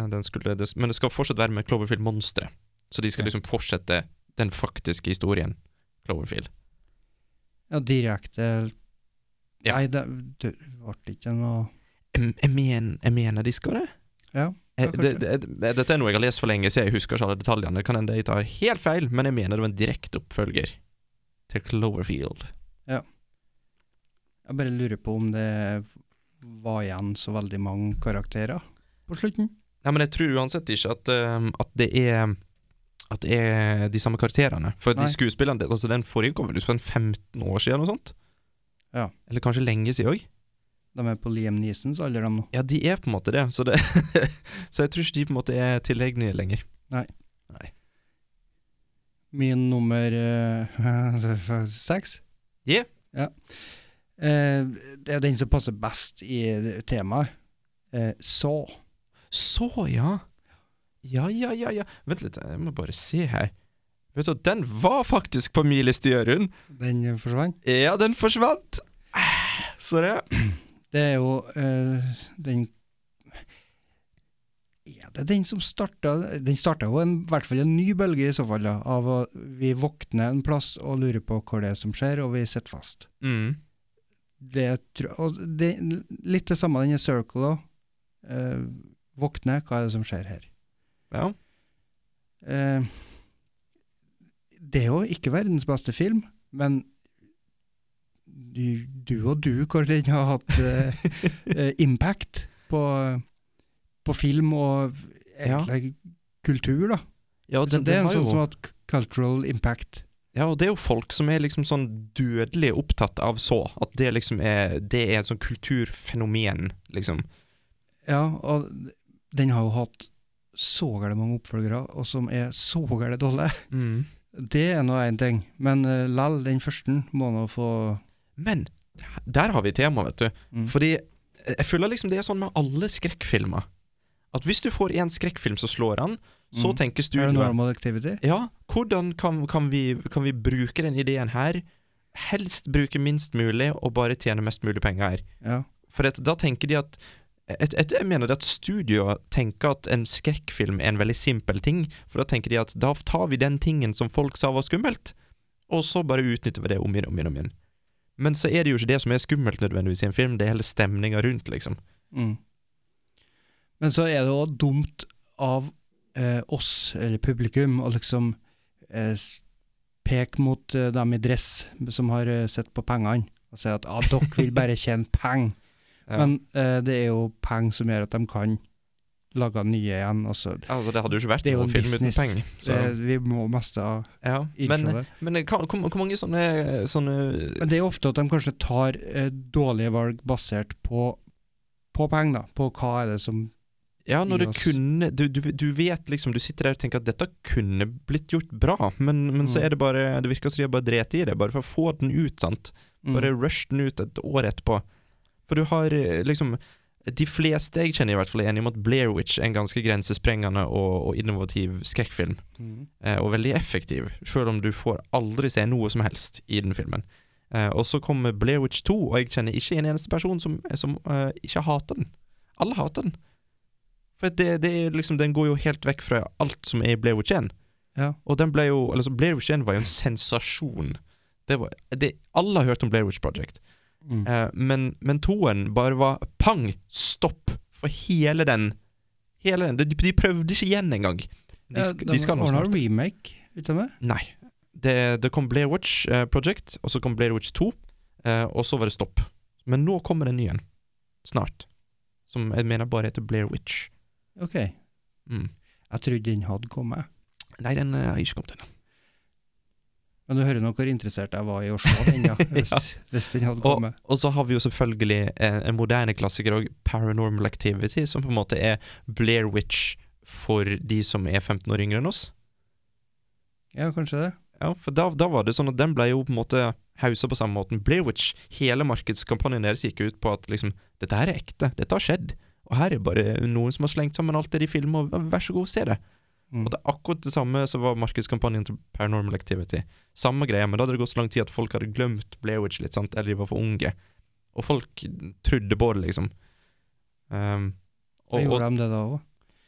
K: Eh, Den skulle, det, men det skal fortsatt være med Cloverfield-monstre. Så de
J: Ja.
K: skal liksom fortsette den faktiske historien. Cloverfield.
J: Ja, direkte
K: Ja.
J: Nei, det det ble ikke noe
K: Jeg, jeg, men, jeg mener de skal det.
J: Ja,
K: Jeg,
J: ja,
K: det,
J: kanskje.
K: det, det. Dette er noe jeg har lest for lenge siden, jeg husker ikke alle detaljene. Det kan hende jeg tar helt feil, men jeg mener det var en direkte oppfølger til Cloverfield.
J: Jeg bare lurer på om det var igjen så veldig mange karakterer på slutten.
K: Nei, men jeg tror uansett ikke at, ehm, at det er At det er de samme karakterene. For
J: Nei.
K: de skuespillerne det- Altså, den forrige kom vel ut for en 15 år siden, eller noe sånt?
J: Ja.
K: Eller kanskje lenge siden òg?
J: De er på Liam Neesons alder, de nå.
K: Ja, de er på en måte det, så, det [LAUGHS] så jeg tror ikke de på en måte er tilgjengelige lenger.
J: Min nummer eh, [LAUGHS] seks.
K: Yeah.
J: Ja. Eh, det er den som passer best i temaet. Eh, så
K: Så, ja. Ja, ja, ja, ja. Vent litt, jeg må bare se her. Vet du, hva, Den var faktisk på min liste, Jørund.
J: den forsvant.
K: Ja, den forsvant. Ah, Så det
J: Det er jo eh, den Er Ja, det er den som starta Den starta jo en, i hvert fall en ny bølge, i så fall, da, av at vi våkner en plass og lurer på hva det er som skjer, og vi sitter fast.
K: Mm.
J: Det, tror- og det, litt det samme denne Circle òg. Eh, våkne, hva er det som skjer her?
K: Ja.
J: Eh, det er jo ikke verdens beste film, men du, du og du, hvor den har hatt
K: [LAUGHS]
J: eh, eh, impact på, på film og egentlig kultur, da.
K: Ja,
J: Så
K: den,
J: det er
K: den
J: en
K: har
J: sånn
K: jo,
J: som har hatt c- cultural impact.
K: ja, og det er jo folk som er liksom sånn dødelig opptatt av så. At det liksom er Det er et sånn kulturfenomen, liksom.
J: Ja, og den har jo hatt så gærent mange oppfølgere, og som er så gærent dårlige.
K: Mm.
J: Det er nå én ting, men uh, lell, den første må nå få
K: Men der har vi tema, vet du.
J: Mm.
K: Fordi jeg føler liksom det er sånn med alle skrekkfilmer. At hvis du får én skrekkfilm som slår an, så
J: Mm.
K: tenker studioet
J: Paranormal Activity.
K: Ja, hvordan kan, kan, vi, kan vi bruke den ideen her? Helst bruke minst mulig og bare tjene mest mulig penger her.
J: Ja.
K: For at, da tenker de at et, et, Jeg mener det at studioer tenker at en skrekkfilm er en veldig simpel ting. For da tenker de at da tar vi den tingen som folk sa var skummelt, og så bare utnytter vi det om igjen, om igjen, om igjen. Men så er det jo ikke det som er skummelt nødvendigvis i en film, det er hele stemninga rundt, liksom.
J: Mm. Men så er det òg dumt av eh, oss, eller publikum, å liksom eh, s- peke mot eh, dem i dress som har eh, sett på pengene, og si at ah, dere vil bare
K: [LAUGHS]
J: tjene penger.
K: Ja.
J: Men eh, det er jo penger som gjør at de kan lage nye igjen. Altså,
K: Altså, det hadde jo ikke vært
J: Det er jo
K: noen
J: en
K: film uten
J: business.
K: penger. Så,
J: det, vi må meste av
K: ja. Men,
J: innsjå det.
K: men hva- hvor, hvor mange sånne, sånne
J: Men det er ofte at de kanskje tar eh, dårlige valg basert på, på penger, da. På hva er det som
K: Ja,
J: gi
K: når det
J: oss-
K: kunne du, du, du vet liksom, du sitter der og tenker at dette kunne blitt gjort bra, men, men så
J: Mm.
K: er det bare Det virker som de har bare drept i det, bare for å få den ut, sant.
J: Mm.
K: Bare rush den ut et år etterpå. For du har eh, liksom De fleste jeg kjenner, i hvert fall er enige om at Blair Witch er en ganske grensesprengende og, og innovativ skrekkfilm,
J: Mm.
K: eh, og veldig effektiv, sjøl om du får aldri se noe som helst i den filmen. Eh, og så kommer Blair Witch 2, og jeg kjenner ikke en eneste person som, som eh, ikke hater den. Alle hater den. For at det, det er liksom, den går jo helt vekk fra alt som er i Blair Witch 1.
J: Ja.
K: Og den ble jo, altså Blair Witch 1 var jo en sensasjon. Det var, det, alle har hørt om Blair Witch Project.
J: Mm.
K: Eh, men, men toen bare var pang, stopp, for hele den. Hele den. De, de prøvde ikke igjen engang. De, sk- de skal nå
J: ordna
K: snart.
J: remake ut av det.
K: Nei. Det, det kom Blair Witch eh, Project, og så kom Blair Witch 2, eh, og så var det stopp. Men nå kommer en ny en. Snart. Som jeg mener bare heter Blair Witch.
J: Ok.
K: Mm.
J: Jeg trodde den hadde kommet.
K: Nei, den eh, har ikke kommet ennå.
J: Men du hører nå hvor interessert jeg var i å se den,
K: [LAUGHS]
J: ja. Hvis, hvis den hadde
K: Og,
J: kommet.
K: og så har vi jo selvfølgelig eh, en, en moderne klassiker òg, Paranormal Activity, som på en måte er Blair Witch for de som er 15 år yngre enn oss.
J: Ja, kanskje det.
K: Ja, for da, da var det sånn at den ble jo på en måte hausa på samme måten. Blair Witch, hele markedskampanjen deres gikk ut på at liksom Dette her er ekte. Dette har skjedd. Og her er bare noen som har slengt sammen alt det de filmer, og vær så god, se det.
J: Mm.
K: Og det er akkurat det samme som var markedskampanjen til Paranormal Activity. Samme greia, men da hadde det gått så lang tid at folk hadde glemt Blair Witch litt, sant? eller de var for unge. Og folk trodde på det, liksom. Um,
J: Da
K: og, og,
J: gjorde de det da òg.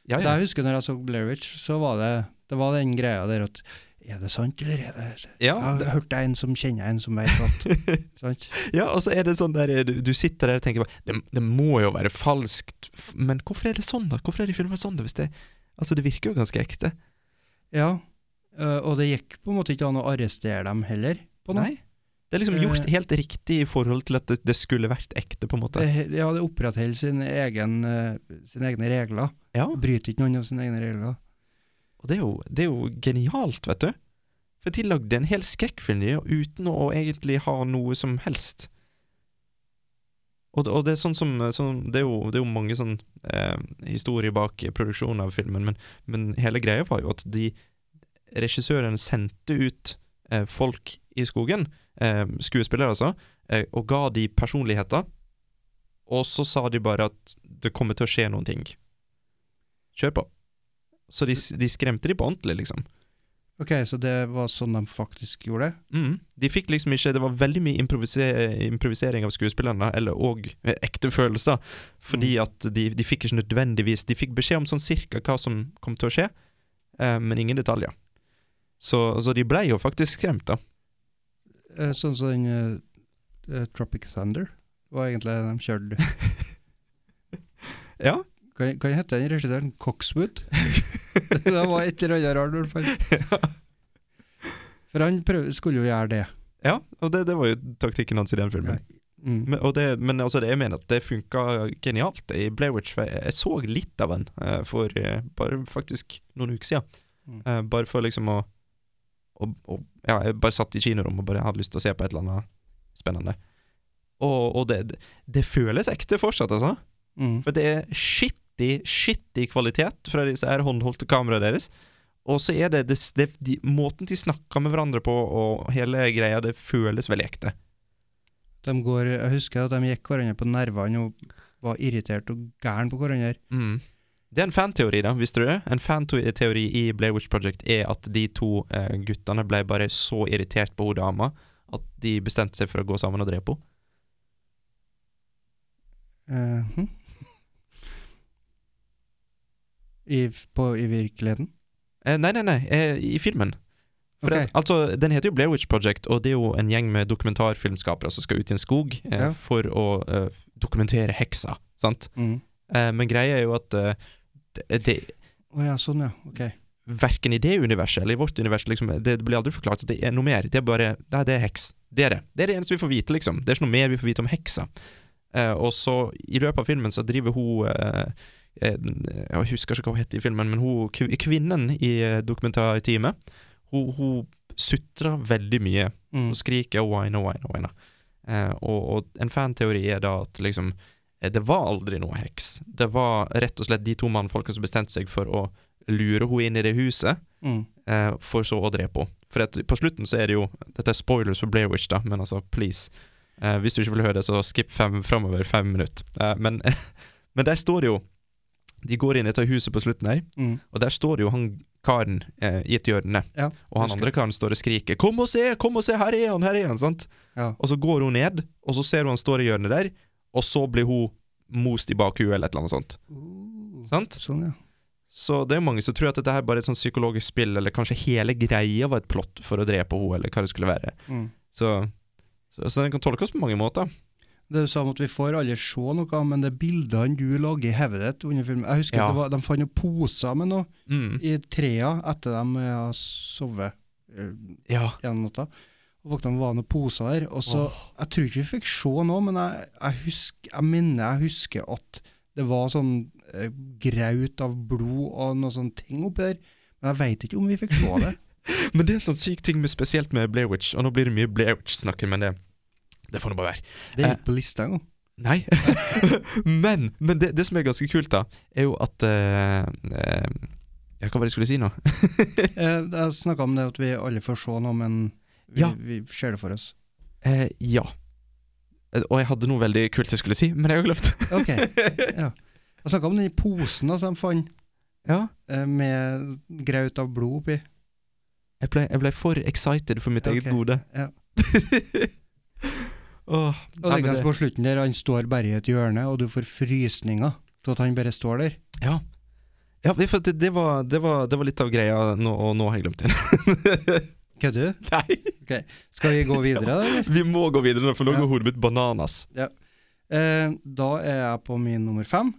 K: ja,
J: Da
K: ja,
J: jeg husker når jeg så Blairwich, så var det, det var den greia der at Er det sant, eller er det Jeg
K: ja,
J: har hørt en som kjenner en som vet alt. [LAUGHS]
K: [LAUGHS]
J: sant?
K: ja, og så er det sånn der Du, du sitter der og tenker bare, det, det må jo være falskt, f- men hvorfor er det sånn, da? Hvorfor er de filmer sånn, da? Hvis det, altså, det virker jo ganske ekte.
J: Ja. eh, og det gikk på en måte ikke an å arrestere dem heller. På noe.
K: Nei. Det er liksom gjort helt riktig i forhold til at det, det skulle vært ekte, på en måte.
J: Det, ja, det opprettholder sin egen, eh, sine egne regler.
K: Ja.
J: Bryter ikke noen av sine egne regler.
K: Og det er jo, det er jo genialt, vet du. For de lagde en hel skrekkfilm de, uten å egentlig ha noe som helst. Og, det- og det er sånn som sånn, det, er jo, det er jo mange sånn eh, historier bak produksjonen av filmen, men, men hele greia var jo at de regissøren sendte ut eh, folk i skogen, eh, skuespillere altså, eh, og ga de personligheter. Og så sa de bare at det kommer til å skje noen ting. Kjør på. Så de, de skremte de på ordentlig, liksom.
J: Ok, så det var sånn de faktisk gjorde det?
K: Mm. De fikk liksom ikke Det var veldig mye improvise- improvisering av skuespillerne, eller og eh, ekte følelser, fordi at de, de fikk ikke nødvendigvis De fikk beskjed om sånn cirka hva som kom til å skje, eh, men ingen detaljer. Så, så de blei jo faktisk skremt, da.
J: Eh, Sånn som den eh, eh, Tropic Thunder var egentlig den de kjørte
K: [LAUGHS] Ja.
J: Kan, kan hete den regissøren
K: [LAUGHS]
J: Coxwood? det var et eller annet rart, i hvert fall. For han prøv, skulle jo gjøre det.
K: ja og det, det var jo taktikken hans i den filmen.
J: Mm.
K: Men, og det, men altså, det, jeg mener at det funka genialt i Blairwich. Jeg så litt av den eh, for eh, bare faktisk noen uker siden.
J: Mm.
K: Eh, bare for liksom å, å, å Ja, jeg bare satt i kinorommet og bare hadde lyst til å se på et eller annet spennende. Og, og det, det føles ekte fortsatt, altså.
J: Mm.
K: For det er skittig, skittig kvalitet fra disse her håndholdte kameraene deres. Og så er det, det, det de, måten de snakker med hverandre på, og hele greia, det føles veldig ekte.
J: De går, jeg husker at de gikk hverandre på nervene og var irritert og gæren på hverandre.
K: Mm. Det er en fanteori, da, visste du det? En fanteori i Blair Witch Project er at de to eh, guttene ble bare så irritert på hun dama at de bestemte seg for å gå sammen og drepe henne.
J: Eh, hm. I, på, I virkeligheten.
K: Eh, nei, nei, nei, eh, i filmen. For
J: Ok.
K: at, altså, Den heter jo Blair Witch Project, og det er jo en gjeng med dokumentarfilmskapere som skal ut i en skog eh,
J: Ja.
K: for å eh, dokumentere heksa, sant?
J: Mm.
K: Eh, men greia er jo at eh, det, det
J: Å ja, sånn ja. Ok.
K: verken i det universet eller i vårt univers, liksom, det blir aldri forklart at det er noe mer. Det er bare Nei, det er heks. Det er det. Det er det eneste vi får vite, liksom. Det er ikke noe mer vi får vite om heksa. Eh, og så, i løpet av filmen, så driver hun eh, eh, Jeg husker ikke hva hun heter i filmen, men hun, kv- kvinnen i eh, dokumentarteamet, hun, hun sutrer veldig mye.
J: Mm.
K: Hun skriker og whiner og whiner og whiner. Eh, og, og en fanteori er da at liksom eh, Det var aldri noe heks. Det var rett og slett de to mannfolkene som bestemte seg for å lure henne inn i det huset,
J: Mm.
K: eh, for så å drepe henne. For at på slutten så er det jo Dette er spoilers for Blair Witch, da, men altså, please. Eh, hvis du ikke vil høre det, så skip fem framover fem minutter. Eh, men, [LAUGHS] men der står det jo De går inn i dette huset på slutten her,
J: Mm.
K: og der står det jo han karen eh, i et hjørne.
J: Ja,
K: Og han
J: husker.
K: andre karen står og skriker 'Kom og se! Kom og se! Her er han! Her er han!' sant?
J: Ja.
K: Og så går hun ned, og så ser hun han står i hjørnet der, og så blir hun most i bakhuet eller et eller annet sånt. Sant?
J: Sånn, ja.
K: Så det er mange som tror at dette her bare er et sånn psykologisk spill, eller kanskje hele greia var et plott for å drepe henne, eller hva det skulle være.
J: Mm.
K: Så, så, så den kan tolkes på mange måter.
J: Det du sa om at vi får aldri se noe, men det er bildene du lager i hodet ditt under filmen Jeg husker
K: Ja.
J: at det var, de fant noen poser med noe
K: Mm.
J: i trea etter de eh, har sovet eh,
K: Ja.
J: gjennom natta. Og våkna med var det noen poser der. Og så, Jeg tror ikke vi fikk se noe, men jeg, jeg, husk, jeg minner jeg husker at det var sånn eh, graut av blod og noe sånn ting oppi der. Men jeg veit ikke om vi fikk se
K: [LAUGHS]
J: det.
K: Men det er en sånn syk ting med, spesielt med Blair Witch, og nå blir det mye Blair Witch-snakker, men det, det får nå bare være.
J: Det
K: Eh.
J: er ikke på lista
K: [LAUGHS]
J: engang.
K: Nei. men men det, det som er ganske kult, da, er jo at eh, eh, Ja, hva var det jeg skulle si nå?
J: Eh, jeg snakka om det at vi alle får se noe, men vi,
K: Ja.
J: vi ser det for oss.
K: Eh, ja. Eh, Og jeg hadde noe veldig kult jeg skulle si, men jeg har glemt. [LAUGHS]
J: Ok, ja. Jeg snakka om den posen da, som de fant,
K: ja.
J: eh, med graut av blod oppi.
K: Jeg ble, jeg ble for excited for mitt eget
J: Ok,
K: gode.
J: ja.
K: [LAUGHS] Åh,
J: Og
K: nei, men
J: tenk deg
K: det-
J: på slutten der, han står bare i et hjørne, og du får frysninger til at han bare står der.
K: Ja. ja for det, det, var, det, var, det var litt av greia, nå, og nå har jeg glemt det. [LAUGHS]
J: Kødder du?
K: nei,
J: Skal vi
K: [LAUGHS]
J: gå videre, da, eller?
K: vi må gå videre, nå, for nå
J: Ja.
K: går hodet mitt bananas.
J: Eh, da er jeg på min nummer fem.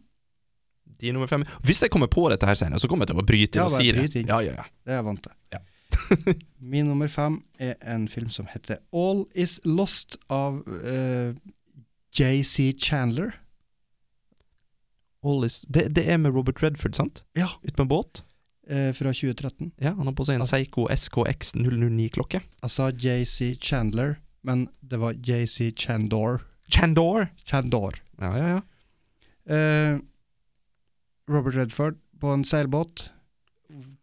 K: De er nummer fem. Hvis jeg kommer på dette her senere, så kommer jeg til å bare bryte inn
J: Ja,
K: og
J: bare
K: si
J: bryt
K: det.
J: inn.
K: Ja, ja, ja.
J: Det er jeg vant til.
K: Ja.
J: [LAUGHS] min nummer fem er en film som heter All Is Lost av eh, JC Chandler.
K: All is, det, det er med Robert Redford, sant?
J: Ja.
K: Ut med båt. Altså-
J: Eh, fra 2013.
K: Ja, Han har på seg en Seigo SKX 009-klokke.
J: Jeg sa JC Chandler, men det var JC Chandor.
K: Chandor!
J: Chandor.
K: Ja, ja, ja.
J: Eh, Robert Redford på en seilbåt.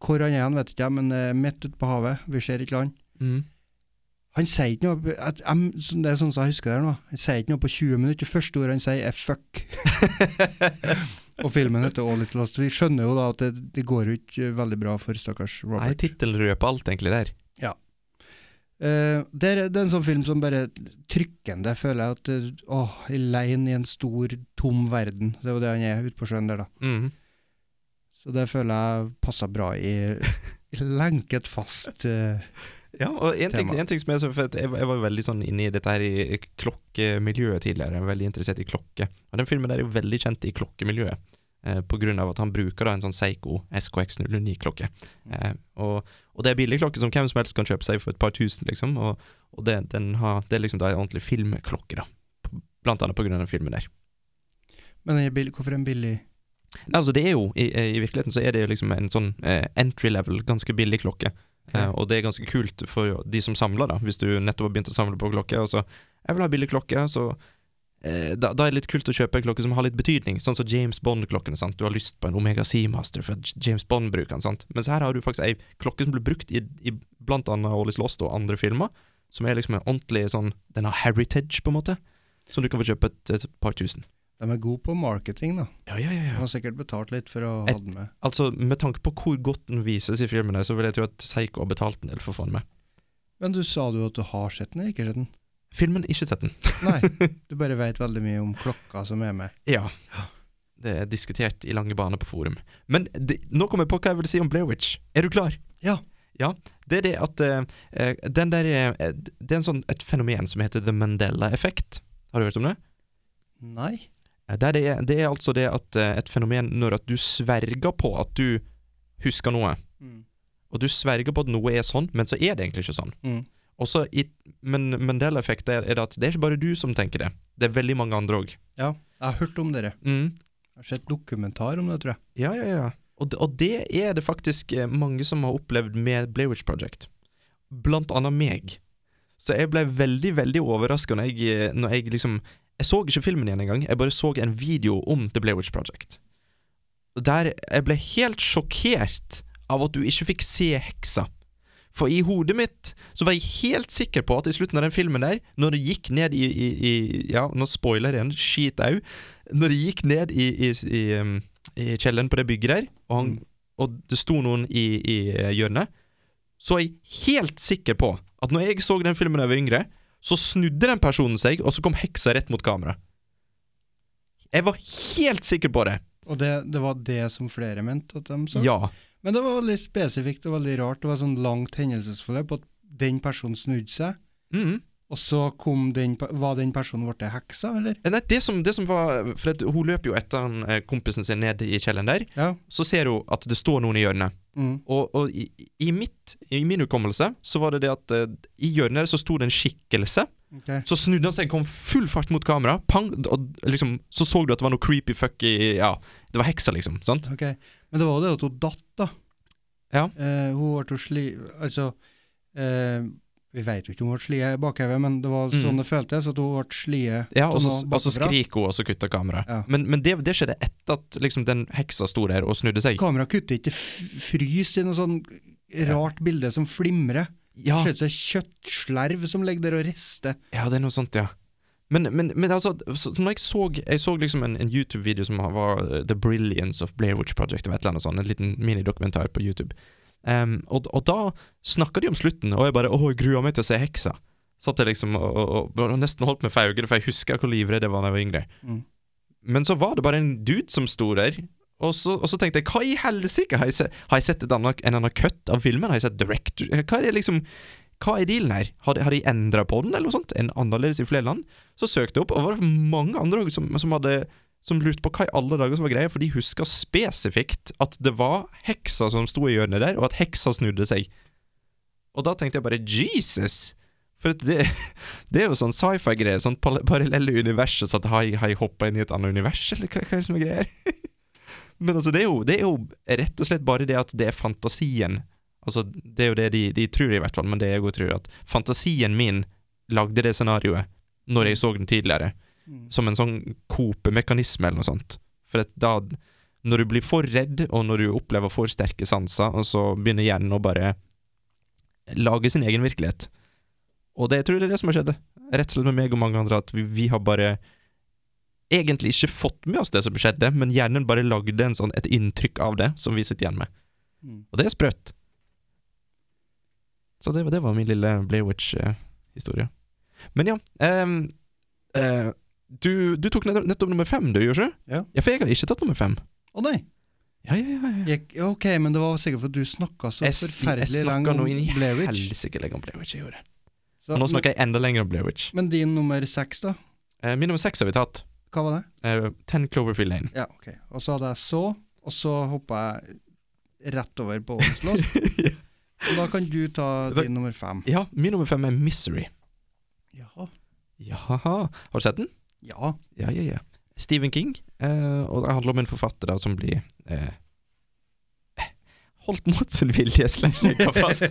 J: Hvor han er, han vet ikke jeg, men det er midt ute på havet. Vi ser ikke land.
K: [LAUGHS] Mm.
J: Han sier ikke noe at, em, sånn- Det er sånn som jeg husker det her nå. Han sier ikke noe på 20 minutter. Det første ordet han sier, er 'fuck'. Og filmen heter All Is Lost. Vi skjønner jo da at det, det går jo ikke veldig bra for stakkars
K: Nei,
J: Robert.
K: tittelen røper alt, egentlig, der.
J: Eh, det, er, det er en sånn film som bare trykkende føler jeg at eh, Åh, aleine i en stor, tom verden. Det er jo det han er ute på sjøen der, da.
K: Mm.
J: Så det føler jeg passer bra i, i lenket fast eh,
K: Ja, og en ting,
J: Tema.
K: en ting som er så fett, jeg, var- jeg var veldig sånn inne i dette her i klokkemiljøet tidligere, jeg er veldig interessert i klokke. Og den filmen der er jo veldig kjent i klokkemiljøet, eh, på grunn av at han bruker da en sånn Seiko SKX009-klokke. Eh, og, og det er billig klokke som hvem som helst kan kjøpe seg for et par tusen, liksom. Og, og det, den har, det er liksom da en ordentlig filmklokke, da. På- Blant annet på grunn av den filmen der.
J: Men den er billig, hvorfor er den billig?
K: Nei, altså det er jo, i, I virkeligheten så er det jo liksom en sånn eh, entry level, ganske billig klokke. Eh,
J: Ja.
K: og det er ganske kult for de som samler, da. Hvis du nettopp har begynt å samle på klokke, og så 'Jeg vil ha billig klokke', så eh, da, da er det litt kult å kjøpe en klokke som har litt betydning. Sånn som James Bond-klokkene. sant? Du har lyst på en Omega Seamaster, for at James Bond bruker den. sant? Mens her har du faktisk ei klokke som ble brukt i, i blant annet All Is Lost og andre filmer, som er liksom en ordentlig sånn Den har heritage, på en måte. Som du kan få kjøpe et, et par tusen.
J: De er gode på marketing, da.
K: Ja, ja, ja,
J: De har sikkert betalt litt for å ha
K: Et-
J: den med.
K: Altså, Med tanke på hvor godt den vises i filmen, her, så vil jeg tro at Seiko har betalt en del for å få den med.
J: Men du sa du at du har sett den, eller ikke sett den?
K: Filmen, ikke sett den.
J: [LAUGHS] Nei, du bare veit veldig mye om klokka som er med.
K: Ja. Det er diskutert i lange baner på forum. Men det, nå kommer jeg på hva jeg vil si om Blairwich. Er du klar?
J: Ja.
K: Ja, Det er det at eh, eh, den der eh, Det er en sånn, et fenomen som heter the Mandela-effekt. Har du hørt om det?
J: Nei?
K: Eh, Der det, er, det er altså det at eh, et fenomen når at du sverger på at du husker noe, og du sverger på at noe er sånn, men så er det egentlig ikke sånn.
J: Mm.
K: Også i, men Mandela-effekten er, er det at det er ikke bare du som tenker det. Det er veldig mange andre òg.
J: Ja, jeg har hørt om dere.
K: Mm.
J: Jeg har sett dokumentar om det, tror jeg.
K: Ja, ja, ja. Og, d- og det er det faktisk eh, mange som har opplevd med Blairwich Project. Blant annet meg. Så jeg ble veldig, veldig overraska når, jeg, eh, når jeg liksom Jeg så ikke filmen igjen engang, jeg bare så en video om The Blairwich Project. Der jeg ble helt sjokkert av at du ikke fikk se heksa. For i hodet mitt så var jeg helt sikker på at i slutten av den filmen der, når det gikk ned i, i, i Ja, nå spoiler jeg igjen, skit au. Når det gikk ned i, i, i um, i kjelleren på det bygget der, og, han, og det sto noen i, i eh, hjørnet, så er jeg helt sikker på at når jeg så den filmen da jeg var yngre, så snudde den personen seg, og så kom heksa rett mot kamera. Jeg var helt sikker på det.
J: Og det, det var det som flere mente at de sa?
K: Ja.
J: Men det var veldig spesifikt og veldig rart. Det var sånn langt hendelsesforløp at den personen snudde seg,
K: Mm.
J: og så kom den, pe- var den personen blitt heksa, eller?
K: Eh, Nei, det som, det som var For at hun løper jo etter han, eh, kompisen sin ned i kjelleren der.
J: Ja.
K: Så ser hun at det står noen i hjørnet.
J: Mm.
K: Og, og i, i, mitt, i min hukommelse så var det det at eh, i hjørnet der så sto det en skikkelse.
J: ok.
K: Så snudde han seg, kom full fart mot kamera, pang, og liksom, så så du at det var noe creepy fucky Ja, det var heksa, liksom. sant?
J: Ok, Men det var jo det at hun datt, da.
K: Ja.
J: Eh, hun ble jo sli... Altså eh, Vi vet jo ikke om hun ble slie i bakhevet, men det var
K: Mm.
J: sånn det føltes, at hun ble slie
K: Ja,
J: av
K: Og så,
J: noe
K: og så
J: bakfra.
K: skriker hun, og så kutter kameraet.
J: Ja.
K: Men, men det, det skjedde etter at liksom, den heksa sto der og snudde seg.
J: Kameraet kutter ikke, det f- fryser i noe sånn rart bilde som flimrer.
K: Ja,
J: Ser ut som et kjøttslerv som ligger der og rister.
K: ja, det er noe sånt, ja. Men, men, men altså, så, når jeg så Jeg så liksom en, en YouTube-video som var eh, The Brilliance of Blairwich Project, eller et eller annet sånt. En liten minidokumentar på YouTube. Em, og, og da snakka de om slutten, og jeg bare Å, jeg gruer meg til å se heksa. Satt jeg liksom og, og, og, og nesten holdt meg for øynene, for jeg husker hvor livredd jeg var da jeg var yngre.
J: Mm.
K: Men så var det bare en dude som sto der, og så, og så tenkte jeg Hva i helsike? Har, jeg se- har jeg sett et annet, en annen cut av filmen? Har jeg sett director Hva er det liksom Hva er dealen her? Har de, har de endra på den, eller noe sånt? En annerledes i flere land? Så søkte jeg opp, og det var mange andre også som, som hadde som lurte på hva i alle dager som var greia, for de huska spesifikt at det var heksa som sto i hjørnet der, og at heksa snudde seg. Og da tenkte jeg bare Jesus! For at det, [LAUGHS] det er jo sånn sci-fi-greie, sånn pal- parallelle universet, så at har jeg- har jeg hoppa inn i et annet univers, eller hva, hva er det som er greia her? [LAUGHS] Men altså, det er, jo, det er jo rett og slett bare det at det er fantasien. Altså, det er jo det de, de tror i hvert fall, men det jeg òg tror, at fantasien min lagde det scenarioet når jeg så den tidligere som en sånn kopemekanisme eller noe sånt. For at da, når du blir for redd, og når du opplever for sterke sanser, og så begynner hjernen å bare lage sin egen virkelighet. Og det jeg tror jeg det er det som har skjedd, rett og slett med meg og mange andre, at vi, vi har bare egentlig ikke fått med oss det som skjedde, men hjernen bare lagde en sånn, et inntrykk av det som vi sitter igjen med.
J: Mm.
K: Og det er sprøtt. Så det, var- det var min lille Blairwich-historie. Men ja ehm, eh, du, du tok nett- nettopp nummer fem, du, Jorsjø?
J: Ja.
K: ja, for jeg har ikke tatt nummer fem.
J: Å nei!
K: Ja, ja, ja, ja.
J: Jeg, ja, ok, men det var sikkert fordi du snakka så
K: Jeg, s- jeg
J: forferdelig lenge
K: snakka
J: om
K: nå inn i
J: Blairwich.
K: helsike lenge om Blairwich. Jeg gjorde.
J: Så-
K: Og nå snakker jeg enda lenger om Blairwich.
J: Men din nummer seks, da?
K: Uh, min nummer seks har vi tatt.
J: Hva var det?
K: Eh, Ten Cloverfield [LAUGHS] Lane.
J: Ja, ok. Og så hadde jeg så, og så hoppa jeg rett over på
K: [LAUGHS]
J: Åleslås.
K: Ja.
J: Og da kan du ta
K: Da-
J: din nummer fem.
K: Ja, min nummer fem er Misery.
J: Ja.
K: Jaha. Har du sett den?
J: Ja.
K: Ja, ja, ja. Stephen King, eh, og det handler om en forfatter da, som blir eh, holdt mot sin vilje, slash lenka fast.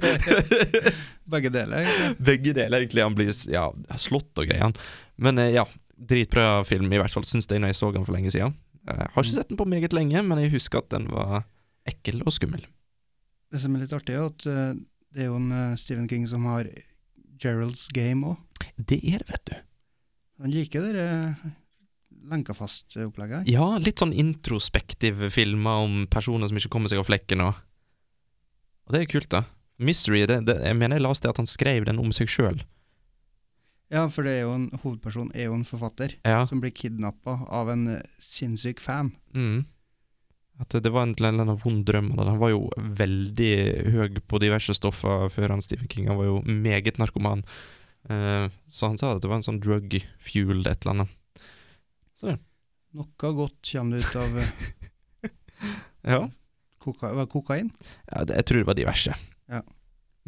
J: Begge deler. egentlig.
K: [LAUGHS] Begge deler, egentlig. Han blir ja, slått og greier. han. Men eh, ja, dritbra film, i hvert fall syns jeg når jeg så den for lenge siden. Eh, har ikke sett den på meget lenge, men jeg husker at den var ekkel og skummel.
J: Det som er litt artig, er at eh, det er jo en eh, Stephen King som har Gerald's Game òg.
K: Det er det, vet du.
J: Han liker det eh, lenkefast-opplegget. her.
K: Ja, litt sånn introspektive filmer om personer som ikke kommer seg av flekken og Og det er kult, da. Misery, det, det, jeg mener jeg leste at han skrev den om seg sjøl.
J: Ja, for det er jo en hovedperson er jo en forfatter
K: Ja.
J: som blir kidnappa av en eh, sinnssyk fan.
K: Mm. At det var en eller annen vond drøm. og Han var jo veldig høy på diverse stoffer før han Stephen King. Han var jo meget narkoman. Eh, så han sa at det var en sånn drug fueled et eller annet.
J: Noe godt kommer det ut av eh,
K: Ja.
J: koka hva, kokain.
K: ja det, jeg tror det var diverse.
J: Ja.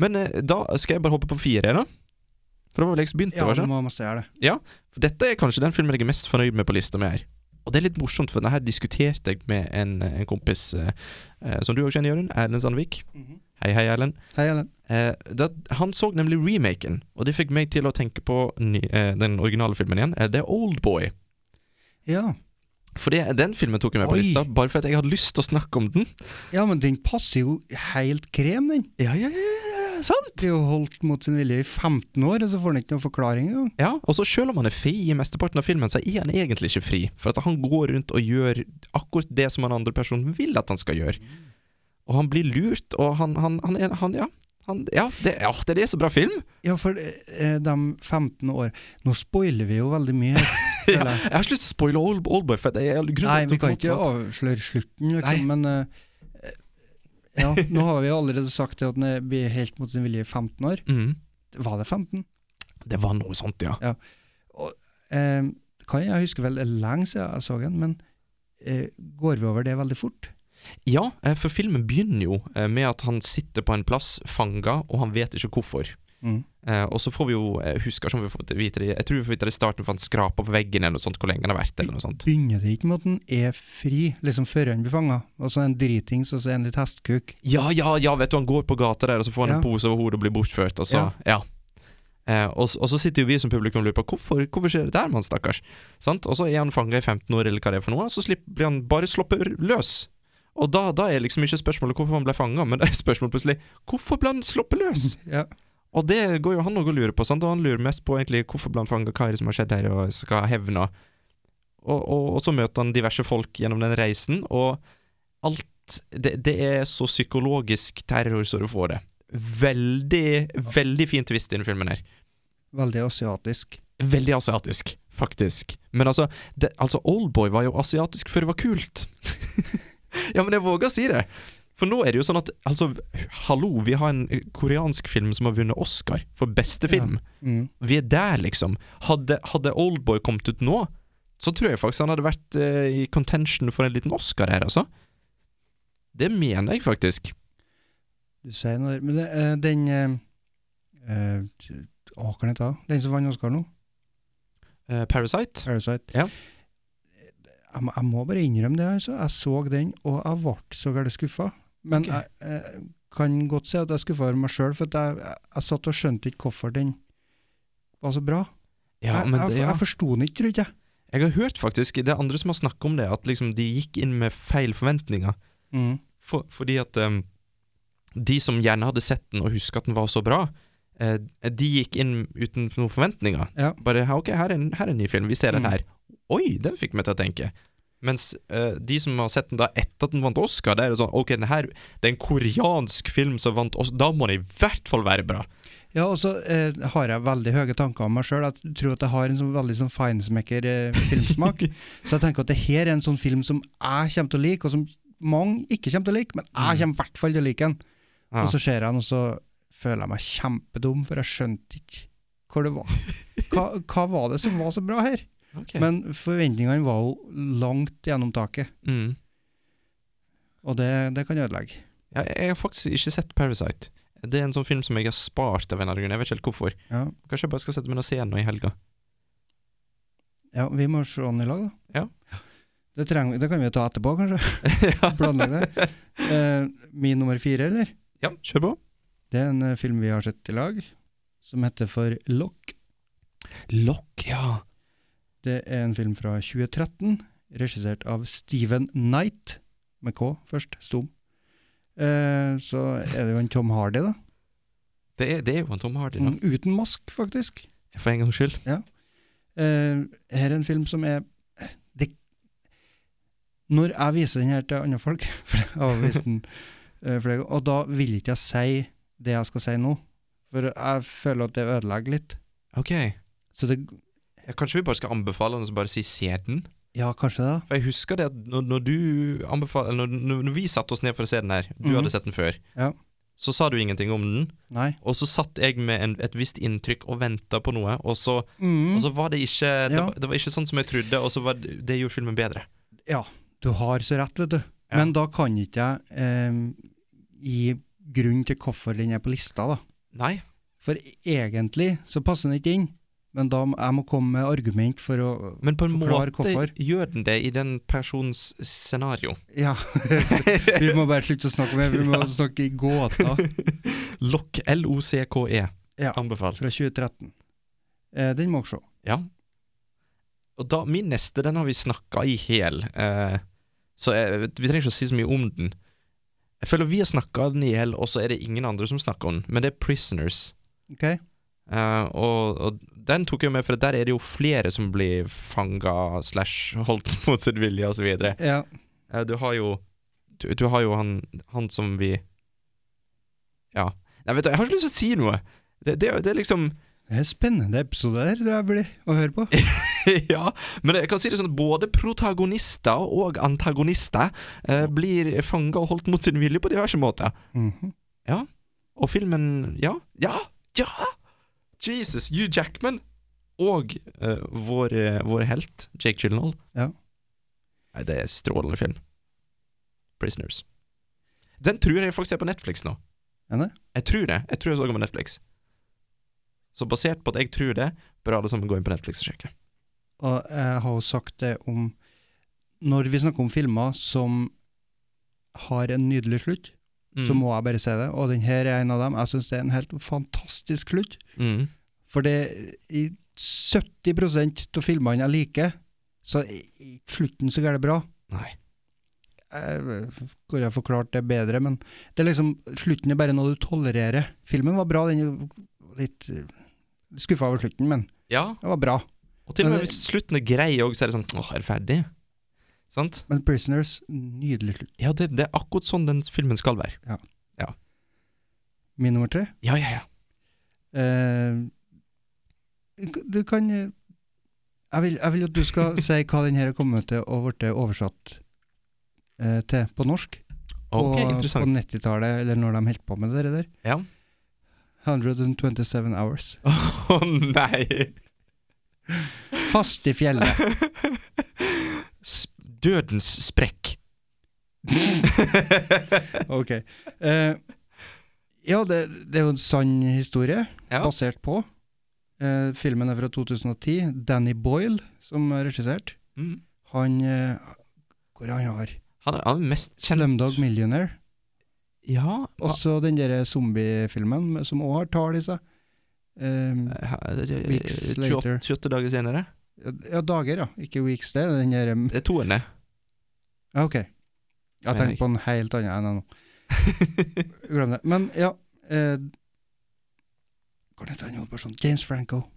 K: Men eh, da skal jeg bare hoppe på fire, da. liksom For det var vel jeg som begynte.
J: Ja,
K: var det
J: du
K: ikke?
J: må masse gjøre det.
K: For dette er kanskje den filmen jeg er mest fornøyd med på lista mi her. Og det er litt morsomt, for denne her diskuterte jeg med en, en kompis eh, eh, som du òg kjenner, Jørund. Erlend Sandvik. Hei, hei, Erlend.
J: Hei, Ellen.
K: Eh, det, han så nemlig remaken, og det fikk meg til å tenke på ny, eh, den originale filmen igjen. Eh, det er Oldboy.
J: Ja.
K: For det, den filmen tok jeg med på
J: Oi.
K: lista, bare for at jeg hadde lyst til å snakke om den.
J: Ja, men den passer jo helt krem, den.
K: Ja, ja, ja, ja, ja, sant?
J: Det er jo holdt mot sin vilje i 15 år, og så får den ikke noen forklaring engang.
K: Ja, og så selv om han er fri i mesteparten av filmen, så er han egentlig ikke fri. For at han går rundt og gjør akkurat det som han andre personen vil at han skal gjøre. Og han blir lurt, og han, han, han, er- han ja. Han, ja, det, ja, det er så bra
J: [LAUGHS]
K: film!
J: Ja, for eh, de 15 år Nå spoiler vi jo veldig mye.
K: Ja,
J: føler jeg.
K: jeg har ikke lyst til å spoile Old- Oldboy. For det er grunnen til
J: Nei,
K: at
J: vi
K: jeg
J: kan
K: tok den
J: ikke
K: opp nå.
J: avsløre slutten, liksom, men eh, eh, Ja, nå har vi jo allerede sagt det at den blir helt mot sin vilje i 15 år.
K: mm,
J: Var det 15?
K: Det var noe sånt, ja.
J: Eh, kan jeg huske vel det er lenge siden jeg så den, men eh, går vi over det veldig fort?
K: Ja, eh, for filmen begynner jo eh, med at han sitter på en plass fanga, og han vet ikke hvorfor.
J: Mm.
K: Eh, og så får vi jo eh, husker ikke om vi får vite det, i- Jeg tror vi får vite det i starten, for han skraper på veggen eller noe sånt, hvor lenge han har vært. eller noe sånt
J: Begynner det ikke med at den er fri, liksom før han blir fanga, og så er han dritings, og så er han litt hestkuk?
K: Ja, ja, ja, vet du, han går på gata der, og så får han en
J: Ja.
K: pose over hodet og blir bortført, og så Ja. Eh, og, s- og så sitter jo vi som publikum og lurer på hvorfor, hvorfor skjer det der, mann, stakkars? Sant? Og så er han fanga i 15 år, eller hva det er for noe, og så slipp, blir han bare sluppet løs. Og da, da er liksom ikke spørsmålet hvorfor han ble fanga, men [LAUGHS] det er spørsmålet plutselig hvorfor ble han sluppet løs?
J: Ja.
K: Og det går jo han òg og lurer på, sant? og han lurer mest på egentlig hvorfor blant fanger hva er det som har skjedd her, og skal ha hevn og og, og og så møter han diverse folk gjennom den reisen, og alt Det, det er så psykologisk terror så du får det. Veldig, veldig fint visst i den filmen her.
J: Veldig asiatisk.
K: Veldig asiatisk, faktisk. Men altså, det, altså Oldboy var jo asiatisk før det var kult. [LAUGHS] ja, men jeg våger å si det. For nå er det jo sånn at Altså, hallo, vi har en eh, koreansk film som har vunnet Oscar for beste film.
J: Mm.
K: Vi er der, liksom. Hadde, hadde Oldboy kommet ut nå, så tror jeg faktisk han hadde vært eh, i contention for en liten Oscar her, altså. Det mener jeg faktisk.
J: Du sier noe der. Men det, eh, den eh, eh, t- Å, hva heter den? Den som vant Oscar nå?
K: Eh, Parasite?
J: Parasite.
K: Ja.
J: Jeg, må- jeg må bare innrømme det, altså. Jeg så den, og jeg ble så gærent skuffa. Men
K: Ok.
J: jeg eh, kan godt si at jeg skuffa meg sjøl, for at jeg, jeg, jeg satt og skjønte ikke hvorfor den var så bra.
K: Ja,
J: jeg,
K: men
J: jeg,
K: det, ja.
J: jeg forsto den ikke, trodde jeg.
K: Jeg har hørt faktisk, det er andre som har snakket om det, at liksom de gikk inn med feil forventninger. Mm. For, fordi at eh, de som gjerne hadde sett den og huska at den var så bra, eh, de gikk inn uten noen forventninger.
J: Ja.
K: Bare "Ja, ok, her er, en, her er en ny film, vi ser den
J: Mm.
K: her. Oi, den fikk meg til å tenke. Mens eh, de som har sett den da etter at den vant Oscar, det er det sånn Ok, den her, det er en koreansk film som vant Oscar, da må den i hvert fall være bra.
J: Ja, og så eh, har jeg veldig høye tanker om meg sjøl. Jeg tror at jeg har en sånn, veldig sånn
K: [LAUGHS]
J: finesmaker-filmsmak. så jeg tenker at det her er en sånn film som jeg kommer til å like, og som mange ikke kommer til å like, men jeg kommer i hvert fall til å like den.
K: Mm. Ja.
J: Og så ser jeg den, og så føler jeg meg kjempedum, for jeg skjønte ikke hvor det var. Hva, hva var det som var så bra her?
K: Ok.
J: Men forventningene var jo langt gjennom taket,
K: mm.
J: og det, det kan ødelegge.
K: Ja, jeg, jeg har faktisk ikke sett Parasite. Det er en sånn film som jeg har spart av en eller annen grunn. Jeg vet ikke helt hvorfor.
J: Ja,
K: Kanskje jeg bare skal sette meg ned og se den nå i helga. [LAUGHS]
J: ja vi må se den i lag, da.
K: Ja.
J: Det, trenger, det kan vi jo ta etterpå,
K: [LAUGHS]
J: kanskje. Planlegge det. Eh, min nummer fire, eller?
K: Ja, kjør på.
J: Det er en eh, film vi har sett i lag, som heter for Lock.
K: Lokk, ja.
J: Det er en film fra 2013, regissert av Steven Knight, med K først, stum. Eh, så er det jo en Tom Hardy, da.
K: Det er, det er jo en Tom Hardy, da.
J: Mm, Uten mask, faktisk.
K: For en gangs skyld.
J: Eh, her er en film som er det, Når jeg viser den her til andre folk, [LAUGHS] for jeg har vist den eh, flere ganger, og da vil ikke jeg si det jeg skal si nå, for jeg føler at det ødelegger litt.
K: Ok. Ja,
J: Så det
K: kanskje vi bare skal anbefale den og så bare si se den?
J: Ja, kanskje det, da.
K: For jeg husker det at når, når du anbefaler eller når, når- når vi satte oss ned for å se den her, du
J: Mhm.
K: hadde sett den før,
J: Ja.
K: så sa du ingenting om den,
J: Nei.
K: og så satt jeg med en, et visst inntrykk og venta på noe, og så, og
J: Altså,
K: så var det ikke det,
J: Mm. Ja.
K: var, det var ikke sånn som jeg trodde, og så var det, det gjorde filmen bedre.
J: Ja, du har så rett, vet du.
K: Ja.
J: Men da kan ikke jeg eh, gi grunn til hvorfor den er på lista, da.
K: Nei.
J: For e-, egentlig så passer den ikke inn, men da må jeg må komme med argument for å
K: Men på en
J: Forklar
K: måte
J: hvorfor.
K: gjør den det i den persons scenario.
J: Ja. [LAUGHS] vi må bare slutte å snakke om det, vi må snakke i gåter.
K: [LAUGHS] Lokk, L-O-C-K-E.
J: Ja,
K: E, Anbefalt.
J: Fra 2013. Eh, den må dere se.
K: Ja. Og da, min neste, den har vi snakka i hel, eh, så eh, vi trenger ikke å si så mye om den. Jeg føler vi har snakka den i hel, og så er det ingen andre som snakker om den, men det er Prisoners.
J: Ok?
K: Eh, og, og den tok jeg med, for der er det jo flere som blir fanga slash holdt [LAUGHS] mot sin vilje, osv. Uh,
J: Ja.
K: du har jo Du, du har jo han, han som vi Ja. Nei, vet du, jeg har ikke lyst til å si noe! Det, det, det er liksom [LAUGHS]
J: Det er spennende episode her det blir å høre på.
K: ja, men jeg kan si det sånn at både protagonister og antagonister eh, blir fanga og holdt mot sin vilje på diverse måter.
J: Mhm.
K: Og filmen Ja, ja, ja! Jesus, Hugh Jackman og eh, vår, eh, vår helt, Jake Gyllenhaal.
J: Ja.
K: Nei, det er strålende film. Prisoners. Den tror jeg faktisk er på Netflix nå.
J: Er det?
K: Jeg tror det. Jeg tror jeg så den på Netflix. Så basert på at jeg tror det, bør alle sammen gå inn på Netflix og sjekke.
J: Og jeg har jo sagt det om Når vi snakker om filmer som har en nydelig slutt, så
K: Mm.
J: må jeg bare si det. Og den her er en av dem. Jeg syns det er en helt fantastisk slutt.
K: mm.
J: For det i 70 av filmene jeg liker, så er ikke slutten så gærent bra.
K: Nei.
J: Jeg kunne ha forklart det bedre, men det er liksom, slutten er bare noe du tolererer. Filmen var bra, den er jo litt skuffa over slutten, men
K: Ja,
J: den var bra.
K: og til og
J: Men
K: med
J: det-
K: hvis slutten er grei òg, så er det sånn Åh, er det ferdig? Sant?
J: Men 'Prisoners', nydelig slutt.
K: Ja, det, det er akkurat sånn den filmen skal være.
J: Min nummer tre.
K: Ja, ja, ja.
J: Eh, du kan eh, jeg vil, jeg vil at du
K: [LAUGHS]
J: skal si hva den her er kommet til og blitt oversatt eh, til på norsk.
K: Ok,
J: og på
K: interessant.
J: 90-tallet, eller når de holdt på med det der.
K: Ja.
J: 127 hours.
K: [LAUGHS] Å nei!
J: Fast i
K: [LAUGHS]
J: fjellet.
K: S dødens sprekk. [LAUGHS]
J: ok. Eh, ja, det, det er jo en sann historie,
K: Ja.
J: basert på. Eh, filmen er fra 2010. Danny Boyle, som er regissert,
K: Mm.
J: han eh, Hvor er han har
K: Han er, han er mest kjent
J: Slumdog Millionaire.
K: Ja, hva-
J: Også den der zombiefilmen med- som òg har tall i seg. Eh, Weeks
K: 28,
J: later.
K: 28 Eh, dager senere.
J: ja, dager, ja. Ikke Weeks, det. Den der eh,
K: Det er toerne.
J: Ja, ok. Jeg
K: Mener jeg.
J: tenkte på en helt annen enn nå. Glem det. Men ja eh, Hva heter han hovedpersonen? James sånn, Franco.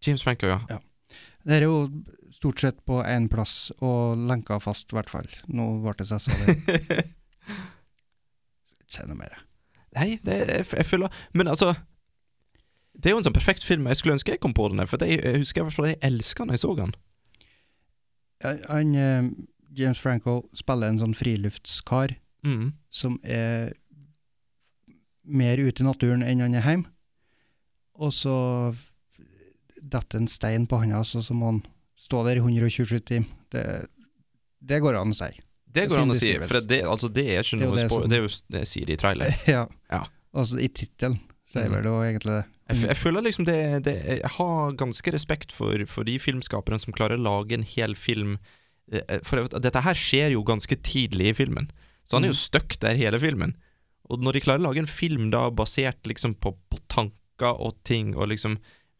K: James Franco, ja.
J: Ja. Det er jo stort sett på én plass, og lenka fast, i hvert fall. Nå ble det sessa,
K: [LAUGHS]
J: det. Ikke si noe mer. jeg.
K: [LAUGHS] Nei, det, jeg, jeg føler Men altså Det er jo en sånn perfekt film. Jeg skulle ønske jeg kom på den. her, For jeg, jeg husker i hvert fall at jeg elska når jeg så den.
J: Han- Han, eh, James Franco spiller en sånn friluftskar
K: Mm.
J: som er mer ute i naturen enn han er hjemme. Og så detter en stein på handa, så, så må han stå der i 127 timer. Det, det går an å si.
K: Det går
J: Fin
K: an å si,
J: beskrivelse.
K: for det, altså, det er
J: Det er
K: ikke
J: jo
K: noe
J: det
K: spoil...
J: som-
K: Det er jo s- det jeg sier i trailer.
J: [LAUGHS] Ja.
K: Ja. Mm.
J: Altså, I tittelen sier vel det jo egentlig det.
K: Jeg, f jeg føler liksom det, det Jeg har ganske respekt for, for de filmskaperne som klarer å lage en hel film eh, eh, For jeg vet- dette her skjer jo ganske tidlig i filmen, så han er jo stuck der hele filmen. Og når de klarer å lage en film da basert liksom på, på tanker og ting, og liksom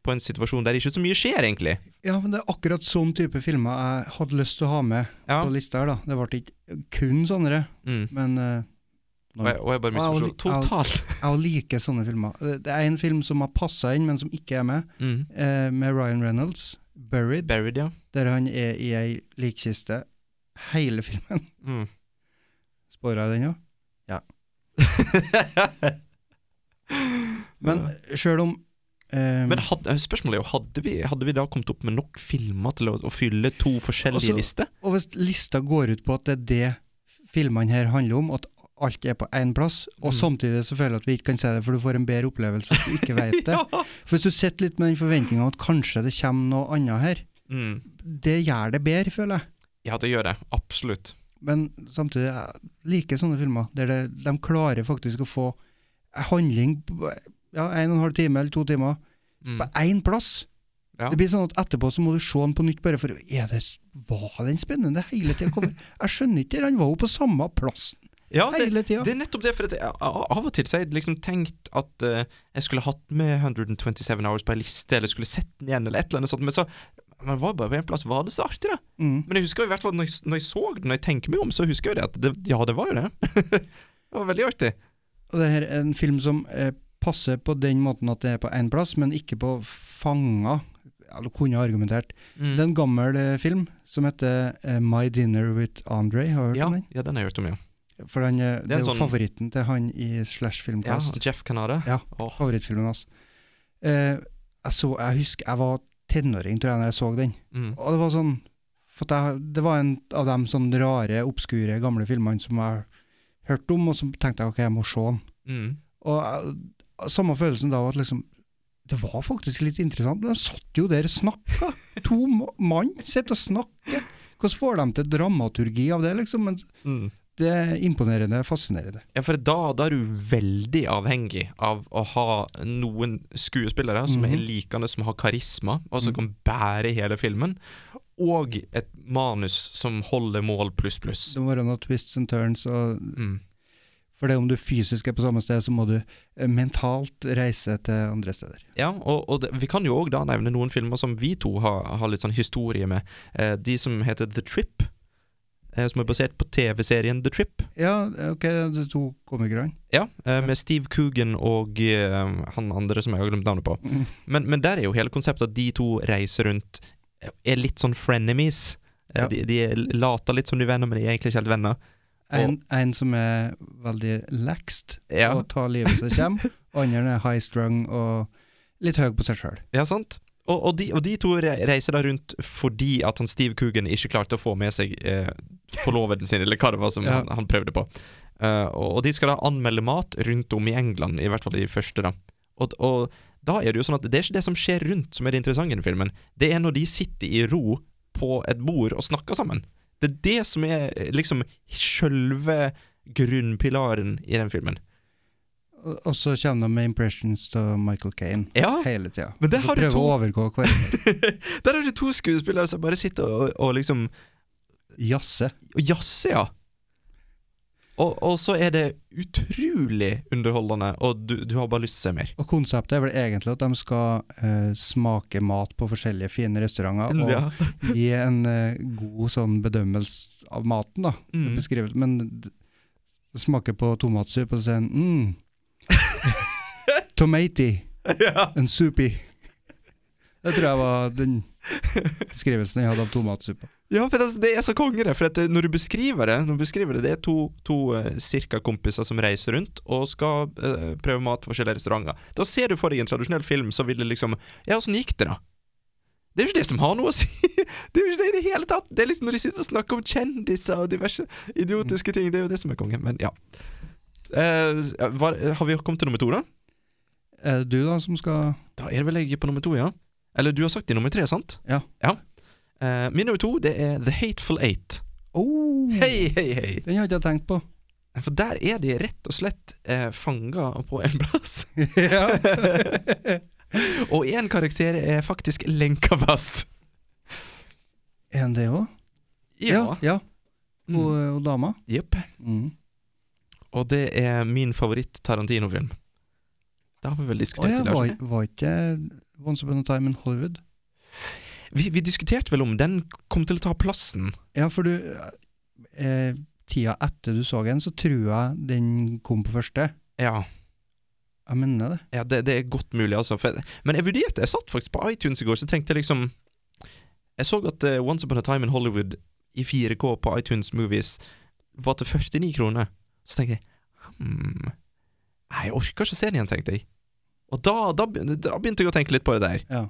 K: på en situasjon der ikke så mye skjer, egentlig
J: Ja, men det er akkurat sånn type filmer jeg hadde lyst til å ha med
K: Ja.
J: på lista her, da. Det ble ikke kun sånne,
K: Mm.
J: men eh,
K: Og jeg, og jeg bare
J: Ja, og li-
K: misforstår
J: ja.
K: totalt.
J: jeg liker sånne filmer. Det det er en film som har passa inn, men som ikke er med,
K: Mm.
J: eh, med Ryan Reynolds, 'Buried',
K: Buried, ja.
J: der han er i ei likkiste hele [LAUGHS] filmen.
K: Mm.
J: Spoila jeg den òg? Men sjøl om eh,
K: Men hadde, spørsmålet er jo, hadde vi, hadde vi da kommet opp med nok filmer til å, å fylle to forskjellige
J: Altså-
K: lister?
J: Og hvis lista går ut på at det er det filmene her handler om, at alt er på én plass, og
K: Mm.
J: samtidig så føler jeg at vi ikke kan si det, for du får en bedre opplevelse hvis du ikke
K: [LAUGHS]
J: vet [LAUGHS] det. For hvis du sitter litt med den forventninga at kanskje det kommer noe annet her,
K: Mm.
J: det gjør det bedre, føler jeg.
K: Ja, det gjør det. Absolutt.
J: Men samtidig, jeg liker sånne filmer der det, de klarer faktisk å få en handling på ja, en og en halv time eller to timer
K: Mm.
J: på én plass.
K: Ja.
J: Det blir sånn at Etterpå så må du se den på nytt, bare for er det, Var den spennende hele tida?
K: [LAUGHS]
J: Jeg skjønner ikke, det, han var jo på samme plassen.
K: Ja, det,
J: Hele tida.
K: det er nettopp det. For at jeg, a- av og til så har jeg liksom tenkt at eh, jeg skulle hatt med 127 Hours på ei liste, eller skulle sett den igjen, eller et eller annet sånt. Men så men var det bare på en plass. Var det så artig, da?
J: Mm.
K: Men jeg husker jo i hvert fall når jeg, når jeg så den, når jeg tenker meg om, så husker jeg jo det at det, ja, det var jo det. [LAUGHS] det var veldig artig.
J: Og det her er en film som eh, passer på den måten at det er på én plass, men ikke på fanga. Ja, du kunne ha argumentert.
K: Mm.
J: Det er en gammel eh, film som heter eh, My Dinner with Andre. Har du hørt
K: ja,
J: om den?
K: ja, den har jeg hørt om, ja.
J: For han, eh, det er jo
K: sånn-
J: favoritten til han i Slash
K: ja
J: Filmcast.
K: Jeff Canada.
J: Ja.
K: Åh.
J: Favorittfilmen hans. Eh, jeg, så, jeg husker jeg var tenåring tror jeg, når jeg så den.
K: Mm.
J: Og det var sånn for at jeg, Det var en av de sånn rare, obskure, gamle filmene som jeg hørte om, og så tenkte jeg ok, jeg må se den.
K: Mm.
J: Og jeg- samme følelsen da at liksom Det var faktisk litt interessant. men De satt jo der og snakka. To ma- mann sitter og snakker. Hvordan får de til dramaturgi av det, liksom? Men
K: Mm.
J: det er imponerende, fascinerende.
K: Ja, for da, da er du veldig avhengig av å ha noen skuespillere som er
J: Mhm.
K: likende, som har karisma, og som kan bære hele filmen, og et manus som holder mål pluss, pluss.
J: Det må være noen twists and turns, og
K: Mm.
J: for det om du fysisk er på samme sted, så må du eh, mentalt reise til andre steder.
K: Ja, og, og det, vi kan jo òg da nevne noen filmer som vi to har, har litt sånn historie med. Eh, de som heter The Trip, eh, som er basert på TV-serien The Trip.
J: Ja, ok, de to komikerne.
K: Ja, eh, med Steve Coogan og eh, han andre som jeg har glemt navnet på.
J: Mhm.
K: Men, men der er jo hele konseptet at de to reiser rundt eh, Er litt sånn frenemies. Eh,
J: Ja.
K: De, de later litt som de er venner, men de er egentlig ikke helt venner.
J: En, en som er veldig laxed
K: Ja,
J: og tar livet som
K: [LAUGHS]
J: kommer, og andre er high strung og litt høy på seg sjøl.
K: ja sant? Og, og, de, og de to re- reiser da rundt fordi at han Steve Coogan ikke klarte å få med seg eh, forloveden sin, eller hva det var som
J: Ja.
K: han, han prøvde på. Eh, og, og de skal da anmelde mat rundt om i England, i hvert fall de første, da. Og, og da er det jo sånn at det er ikke det som skjer rundt som er det interessante i den filmen. Det er når de sitter i ro på et bord og snakker sammen. Det er det som er eh, liksom sjølve grunnpilaren i den filmen.
J: Og og så kommer de med impressions til Michael Kane
K: Ja,
J: hele tida.
K: Men det
J: Og så
K: har du
J: prøver
K: to-
J: å overgå hverandre.
K: [LAUGHS] der er det to skuespillere som bare sitter og, og liksom
J: Jazze.
K: Og jazze, ja. Og, og så er det utrolig underholdende, og du, du har bare lyst til å se mer.
J: Og konseptet er vel egentlig at de skal eh, smake mat på forskjellige fine restauranter [LAUGHS] og
K: Ja.
J: gi en eh, god sånn bedømmelse av maten, da.
K: Mm.
J: Beskrivet. Men d- smake på tomatsuppe og så sier en mm.
K: [LAUGHS]
J: Tomaty and soupy. Det tror jeg var den beskrivelsen jeg hadde av tomatsuppa.
K: Ja, for altså, det, det er så konge, det. For at det- når du beskriver det, når du beskriver det, det er to, to eh, cirka kompiser som reiser rundt og skal eh, prøve mat på forskjellige restauranter. Da ser du for deg en tradisjonell film som ville liksom Ja, åssen gikk det, da? Det er jo ikke det som har noe å si! [LAUGHS] Det er jo ikke det i det hele tatt! Det er liksom når de sitter og snakker om kjendiser og diverse idiotiske ting, det er jo det som er konge. Men ja. Eh, var, har vi kommet til nummer to, da?
J: Er det du da som skal
K: Da er det vel jeg på nummer to, ja. Eller du har sagt i nummer tre, sant?
J: Ja.
K: Eh, min nummer to, det er The Hateful Eight.
J: oh,
K: Hei, hei, hei!
J: Den hadde jeg tenkt på.
K: For der er de rett og slett eh, fanga på en
J: [LAUGHS]
K: plass. [LAUGHS] og én karakter er faktisk lenka fast.
J: Er den det òg?
K: Ja. Mm.
J: ja. Og, og dama?
K: Jepp.
J: Mm.
K: Og det er min favoritt-Tarantino-film. Det har vi vel
J: Å
K: diskutert
J: ja,
K: tidligere.
J: var,
K: ikke?
J: var ikke Once Upon a Time in Hollywood?
K: Vi, vi diskuterte vel om den kom til å ta plassen.
J: Ja, for du eh, Tida etter du så den, så tror jeg den kom på første.
K: Ja,
J: Jeg mener det.
K: ja det, det er godt mulig, altså. For, men jeg vurderte Jeg satt faktisk på iTunes i går, så tenkte jeg liksom Jeg så at eh, Once Upon a Time in Hollywood i 4K på iTunes Movies var til 49 kroner. Så tenkte jeg hmm, Nei, jeg orker ikke å se den igjen, tenkte jeg. Og da, da, begyn- da begynte jeg å tenke litt på det der.
J: Ja.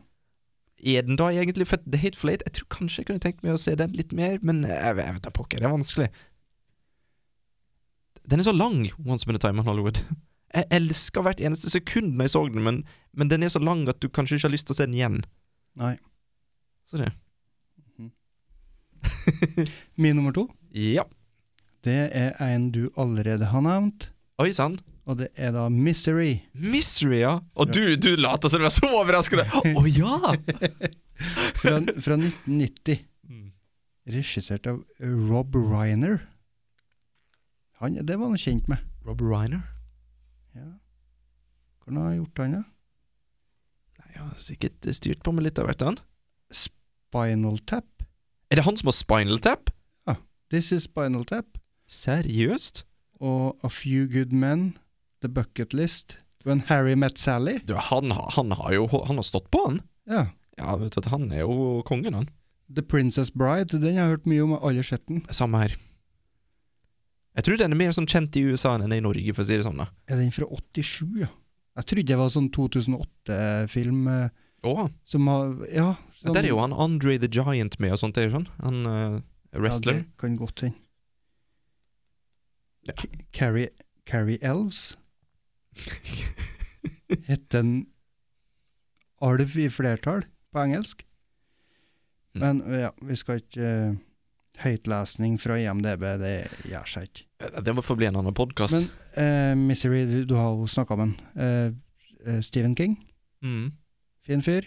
K: Er den da egentlig for The Hateful Eight? Jeg tror kanskje jeg kunne tenkt meg å se den litt mer, men eh, jeg, jeg vet da pokker, det er vanskelig. Den er så lang, Once Upon a Time in Hollywood. Jeg elsker hvert eneste sekund når jeg så den, men, men den er så lang at du kanskje ikke har lyst til å se den igjen.
J: Nei.
K: Så det.
J: Min nummer to,
K: Ja.
J: det er en du allerede har nevnt,
K: Oi sann.
J: og det er da Misery.
K: Misery, ja. Og du, du later som du er så overraskende. Å ja!
J: Fra,
K: [LAUGHS]
J: fra 1990.
K: Mm.
J: Regissert av Rob Reiner. Han, det var han kjent med.
K: Rob Reiner?
J: Ja. Hvordan har han gjort han, da?
K: Nei, jeg har sikkert styrt på med litt av hvert, han.
J: Spinal Tap.
K: Er det han som har spinal tap?
J: This is Spinal Tap.
K: Seriøst?
J: Og A Few Good Men. The Bucket List. When Harry Met Sally.
K: Du, han, har- han har jo Han har stått på, han.
J: Ja.
K: Ja, vet du at han er jo kongen, han.
J: The Princess Bride. Den har jeg hørt mye om, jeg har aldri sett den.
K: Samme her. Jeg tror den er mer sånn kjent i USA enn den er i Norge, for å si det sånn. da
J: Er den fra 87, ja? Jeg trodde det var sånn 2008-film eh,
K: Å,
J: som har Ja.
K: ja,
J: Sånn,
K: Der er jo han Andre the Giant med og sånt, det er jo sånn. Han eh,
J: Ja,
K: wrestler.
J: det kan godt hende.
K: Ja.
J: K- Carrie, Carrie
K: [LAUGHS]
J: Elves het en alv i flertall på engelsk.
K: Mm.
J: Men ja, vi skal ikke eh, Høytlesning fra IMDb, det gjør seg ikke.
K: [LAUGHS] Ja, det må få bli en annen podkast.
J: Men eh, Misery, du- du har jo snakka om han. Eh, eh, Stephen King,
K: Mm.
J: fin fyr.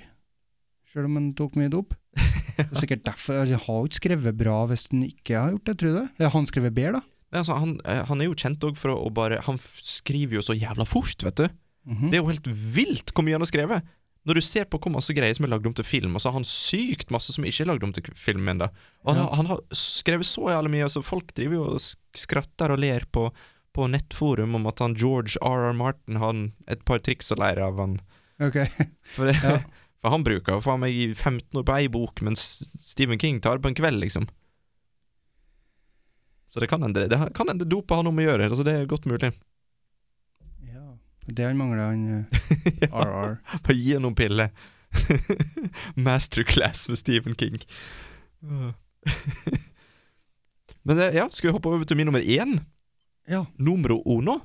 J: Sjøl om han tok mye dop. Det er
K: [LAUGHS]
J: sikkert derfor Han har jo ikke skrevet bra hvis han ikke har gjort det, tror du? Ja, han skrevet bedre, da?
K: Nei, altså, han, eh, han er jo kjent òg for å, å bare Han f- skriver jo så jævla fort, vet du.
J: Mhm.
K: Det er jo helt vilt hvor mye han har skrevet. Når du ser på hvor masse greier som er lagd om til film, og så har han sykt masse som ikke er lagd om til film ennå. Og han,
J: Ja.
K: har- han har skrevet så jævlig mye, altså folk driver jo og sk- skratter og ler på, på nettforum om at han George R.R. Martin har en- et par triks å lære av han.
J: Ok.
K: For, det,
J: Ja.
K: [LAUGHS] for han bruker jo faen meg i 15 år på ei bok, mens Stephen King tar på en kveld, liksom. Så det kan hende det kan hende dopet har noe med å gjøre, altså det er godt mulig. [LAUGHS]
J: Ja. Det han mangler, han eh, RR.
K: Bare gi henne noen piller. [LAUGHS] Masterclass med Stephen King. [LAUGHS] Men det, ja, skal vi hoppe over til min nummer én?
J: [LAUGHS] Ja.
K: Numero uno?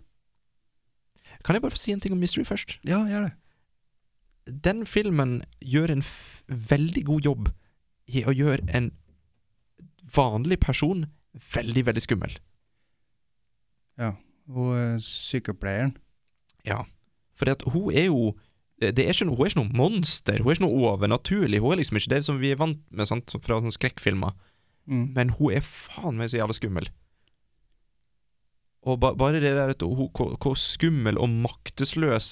K: Kan jeg bare få si en ting om Mystery først?
J: Ja, gjør det.
K: Den filmen gjør en f veldig god jobb i å gjøre en vanlig person veldig, veldig skummel.
J: Og eh, sykepleieren.
K: For at hun er jo det er ikke noe, Hun er ikke noe monster, hun er ikke noe overnaturlig. Hun er liksom ikke det som vi er vant med sant, fra sånne skrekkfilmer.
J: Mm.
K: Men hun er faen meg så jævla skummel. Og ba, bare det der at hun, hvor, hvor skummel og maktesløs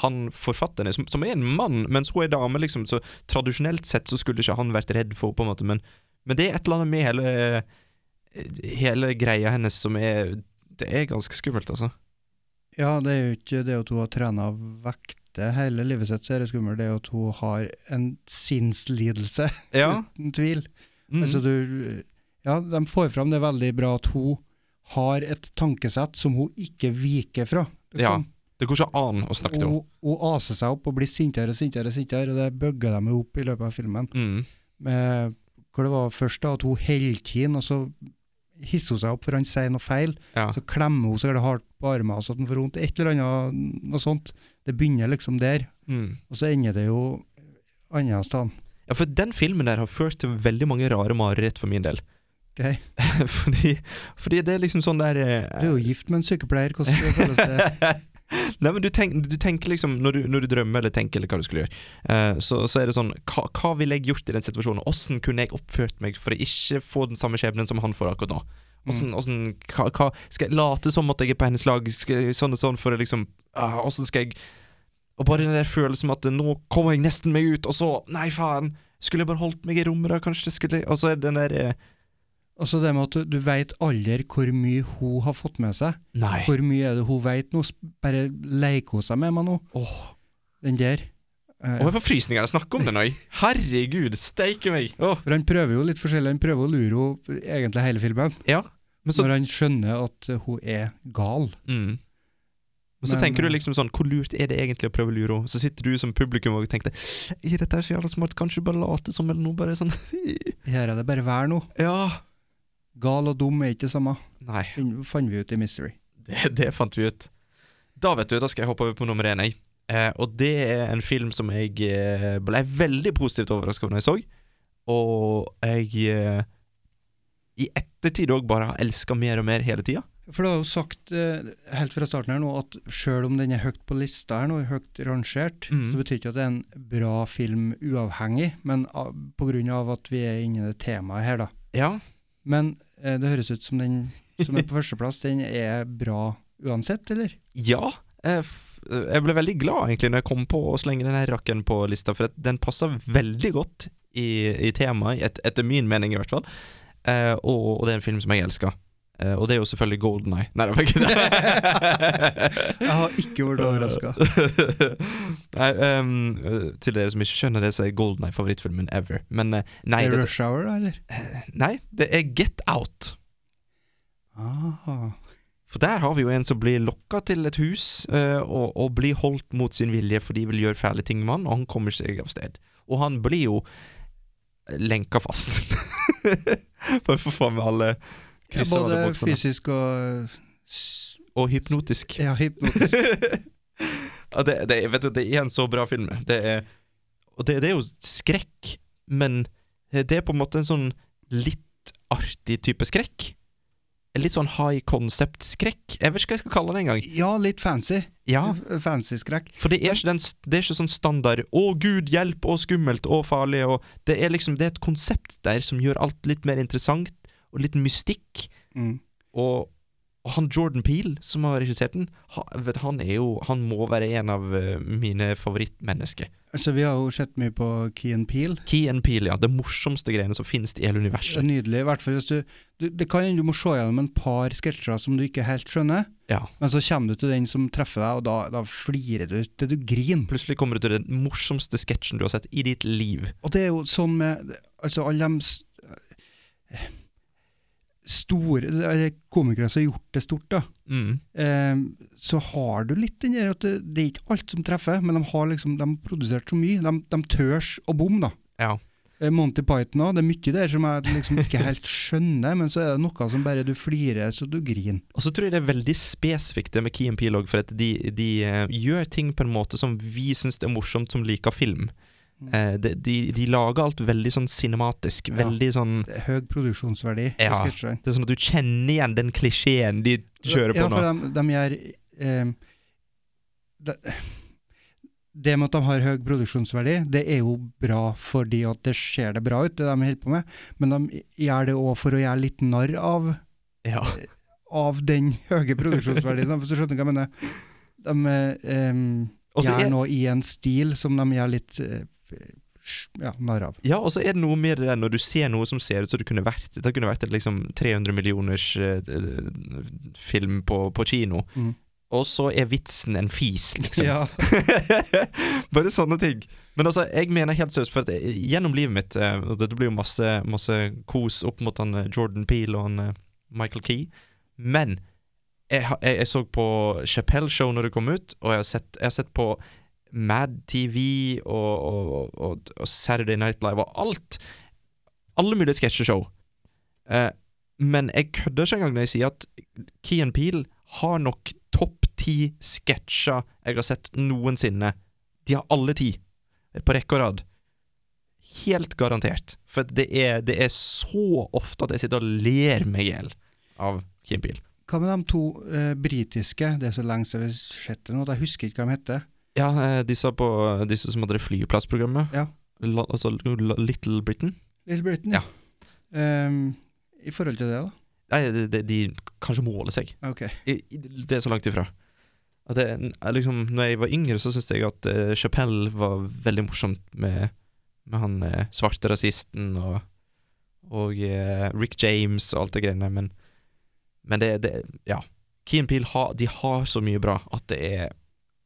K: han forfatteren er, som, som er en mann, mens hun er dame, liksom, så tradisjonelt sett så skulle ikke han vært redd for henne, på en måte, men, men det er et eller annet med hele eh, Hele greia hennes som er Det er ganske skummelt, altså.
J: Ja, det er jo ikke det at hun har trena vekt siste hele livet sitt så er det skummelt, det er jo at hun har en sinnslidelse, [LAUGHS]
K: Ja.
J: uten tvil.
K: Mm.
J: Altså du, ja, de får fram det veldig bra at hun har et tankesett som hun ikke viker fra.
K: ja.
J: liksom-
K: Det går ikke an å snakke til
J: Hun,
K: henne.
J: hun aser seg opp og blir sintere og sintere, og sintere, og det bøgger de jo opp i løpet av filmen.
K: Mm.
J: Med, hvor det var først da at hun holder kinn, og så hisser hun seg opp for han sier noe feil.
K: Ja.
J: Så klemmer hun så er det hardt på armen så at den får vondt. Et eller annet noe sånt. Det begynner liksom der,
K: Mm.
J: og så ender det jo annet sted.
K: ja, for den filmen der har ført til veldig mange rare mareritt for min del.
J: Ok.
K: [LAUGHS] fordi, fordi det er liksom sånn der
J: Du er jo gift med en sykepleier,
K: [LAUGHS]
J: hvordan føles det?
K: Nei, men du, tenk, du tenker liksom når du, når du drømmer eller tenker eller hva du skulle gjøre, eh, så, så er det sånn hva, hva ville jeg gjort i den situasjonen? Åssen kunne jeg oppført meg for å ikke få den samme skjebnen som han får akkurat nå?
J: Mm.
K: Hvordan, hvordan, hva, hva, skal jeg late som at jeg er på hennes lag, skal jeg, sånn og sånn, for å liksom ah, Åssen skal jeg Og bare den der følelsen at nå kommer jeg nesten meg ut, og så Nei, faen! Skulle jeg bare holdt meg i rommet, da, kanskje? Skulle jeg Og så er det den der eh,
J: Altså det med at du, du veit aldri hvor mye hun har fått med seg.
K: Nei.
J: Hvor mye er det hun veit nå? Sp- Bare leker hun seg med meg nå?
K: Åh.
J: Den der. Eh,
K: Og jeg får frysninger av å snakke om den òg. Herregud, steike meg! Åh.
J: For han prøver jo litt forskjellig, han prøver å lure henne egentlig hele filmen.
K: Ja. Men så
J: Når han skjønner at eh, hun er gal.
K: Mm. Men så
J: Men,
K: tenker du
J: eh,
K: liksom sånn, hvor lurt er det egentlig å prøve å lure henne? Så sitter du som publikum og tenker I dette er så jævla smart, kanskje du bare late som, eller noe bare sånn [LAUGHS]
J: Her er det bare vær nå.
K: Ja.
J: Gal og dum er ikke det samme.
K: Nei,
J: Den fant vi ut i Mystery.
K: det, det fant vi ut. Da vet du, da skal jeg hoppe over på nummer én, jeg. Eh, og det er en film som jeg eh, ble veldig positivt overraska over når jeg så, og jeg eh, i ettertid òg bare har elska mer og mer hele tida.
J: For du har jo sagt eh, helt fra starten her nå at sjøl om den er høyt på lista her nå, høyt rangert,
K: Mhm.
J: så betyr ikke at det er en bra film uavhengig, men av- på grunn av at vi er inne i det temaet her, da.
K: Ja.
J: Men eh, det høres ut som den som [LAUGHS] er på førsteplass, den er bra uansett, eller?
K: Ja. Jeg, f jeg ble veldig glad egentlig når jeg kom på å slenge den her rakken på lista, for at den passer veldig godt i, i temaet, et, etter min mening i hvert fall. Eh, og, og det er en film som jeg elsker. Eh, og det er jo selvfølgelig Golden Eye. Nei, det var ikke
J: [LAUGHS]
K: det.
J: Jeg har ikke vært overraska.
K: [LAUGHS] nei, ehm, til dere som ikke skjønner det, så er Golden Eye favorittfilmen ever. Men eh, nei,
J: Er det
K: dette-
J: rush hour, da, eller?
K: nei, det er Get Out.
J: Ah.
K: For der har vi jo en som blir lokka til et hus eh, og, og blir holdt mot sin vilje, for de vil gjøre fæle ting med han, og han kommer seg av sted. Og han blir jo lenka fast. [LAUGHS] Bare for faen med alle
J: Ja,
K: krysser alle
J: både
K: boksene.
J: fysisk og s-
K: Og hypnotisk.
J: ja, [LAUGHS] hypnotisk.
K: [LAUGHS] ja, det, det, vet du, det er en så bra film. Det er, og det, det er jo skrekk, men det er på en måte en sånn litt artig type skrekk. En Litt sånn high concept-skrekk. Jeg vet ikke hva jeg skal kalle det engang.
J: Ja, litt fancy.
K: Ja.
J: F- Fancy skrekk.
K: For det er ikke, den, det er ikke sånn standard 'Å, Gud, hjelp!' og 'skummelt' og 'farlig' og Det er liksom det er et konsept der som gjør alt litt mer interessant, og litt mystikk.
J: Mm.
K: Og, og han Jordan Peel, som har regissert den, han, vet, du, han er jo Han må være en av eh, mine favorittmennesker.
J: Altså, vi har jo sett mye på Key and Peel.
K: Key and Peel, ja. Det morsomste greiene som finnes i hele universet.
J: Nydelig. I hvert fall hvis du, du Det kan hende du må se gjennom en par sketsjer som du ikke helt skjønner,
K: Ja.
J: men så kommer du til den som treffer deg, og da, da flirer du til du griner.
K: Plutselig kommer du til den morsomste sketsjen du har sett i ditt liv.
J: Og det er jo sånn med Altså, alle de s- store eller komikere som har gjort det stort, da.
K: Mm.
J: eh, så har du litt den der at det, det er ikke alt som treffer, men de har liksom, de har produsert så mye. De, de tørs å bomme, da.
K: Ja.
J: Eh, Monty Python òg, det er mye der som jeg liksom ikke
K: [LAUGHS]
J: helt skjønner, men så er det noe som bare du flirer så du griner.
K: Og så tror jeg det er veldig spesifikt det med Key and Peele også, for at de, de eh, gjør ting på en måte som vi syns er morsomt, som liker film. Eh, de, de, de lager alt veldig sånn cinematisk.
J: Mm. Ja.
K: Veldig sånn
J: Det er Høy produksjonsverdi. i
K: Ja.
J: sketsjene.
K: Det er sånn at du kjenner igjen den klisjeen de kjører på
J: ja,
K: nå.
J: for de, de gjør eh, det, det med at de har høy produksjonsverdi, det er jo bra fordi at det ser det bra ut, det de holder på med, men de gjør det òg for å gjøre litt narr av
K: Ja.
J: av den høye
K: [LAUGHS]
J: produksjonsverdien. Hvis du skjønner hva jeg mener. De eh, em,
K: Og så
J: gjør
K: er-
J: noe i en stil som de gjør litt eh, ja, narr av.
K: Ja, og så er det noe med det der når du ser noe som ser ut som det kunne vært Det kunne vært et liksom 300 millioners eh, eh, film på, på kino.
J: Mm.
K: og så er vitsen en fis, liksom.
J: Ja.
K: [LAUGHS] Bare sånne ting. Men altså, jeg mener helt seriøst, for at jeg- gjennom livet mitt eh, Og dette blir jo masse, masse kos opp mot han eh, Jordan Peele og han eh, Michael Key, men jeg, har- jeg, jeg så på Chappelle Show når det kom ut, og jeg har sett, jeg har sett på Mad TV og, og, og, og Saturday Night Live og alt. Alle mulige sketsjeshow. Eh, men jeg kødder ikke engang når jeg sier at Key and Peele har nok topp ti sketsjer jeg har sett noensinne. De har alle ti, på rekke og rad. Helt garantert. For det er, det er så ofte at jeg sitter og ler meg i hjel av Key and Peele.
J: Hva med de to eh, britiske? Det er så lenge siden vi har sett det nå, at jeg husker ikke hva de heter.
K: Ja, eh, disse, på, disse som hadde det flyplassprogrammet.
J: Ja.
K: La, altså La- Little Britain.
J: Little Britain?
K: Ja.
J: Ehm, I forhold til det, da?
K: Nei, de, de, de kanskje måler seg.
J: Ok.
K: I- i- Det er så langt ifra. At det, er liksom, når jeg var yngre, så syntes jeg at eh, Chappelle var veldig morsomt med, med han eh, svarte rasisten og, og eh, Rick James og alt det greiene, men, men det, det Ja. Key and Peele har, de har så mye bra at det er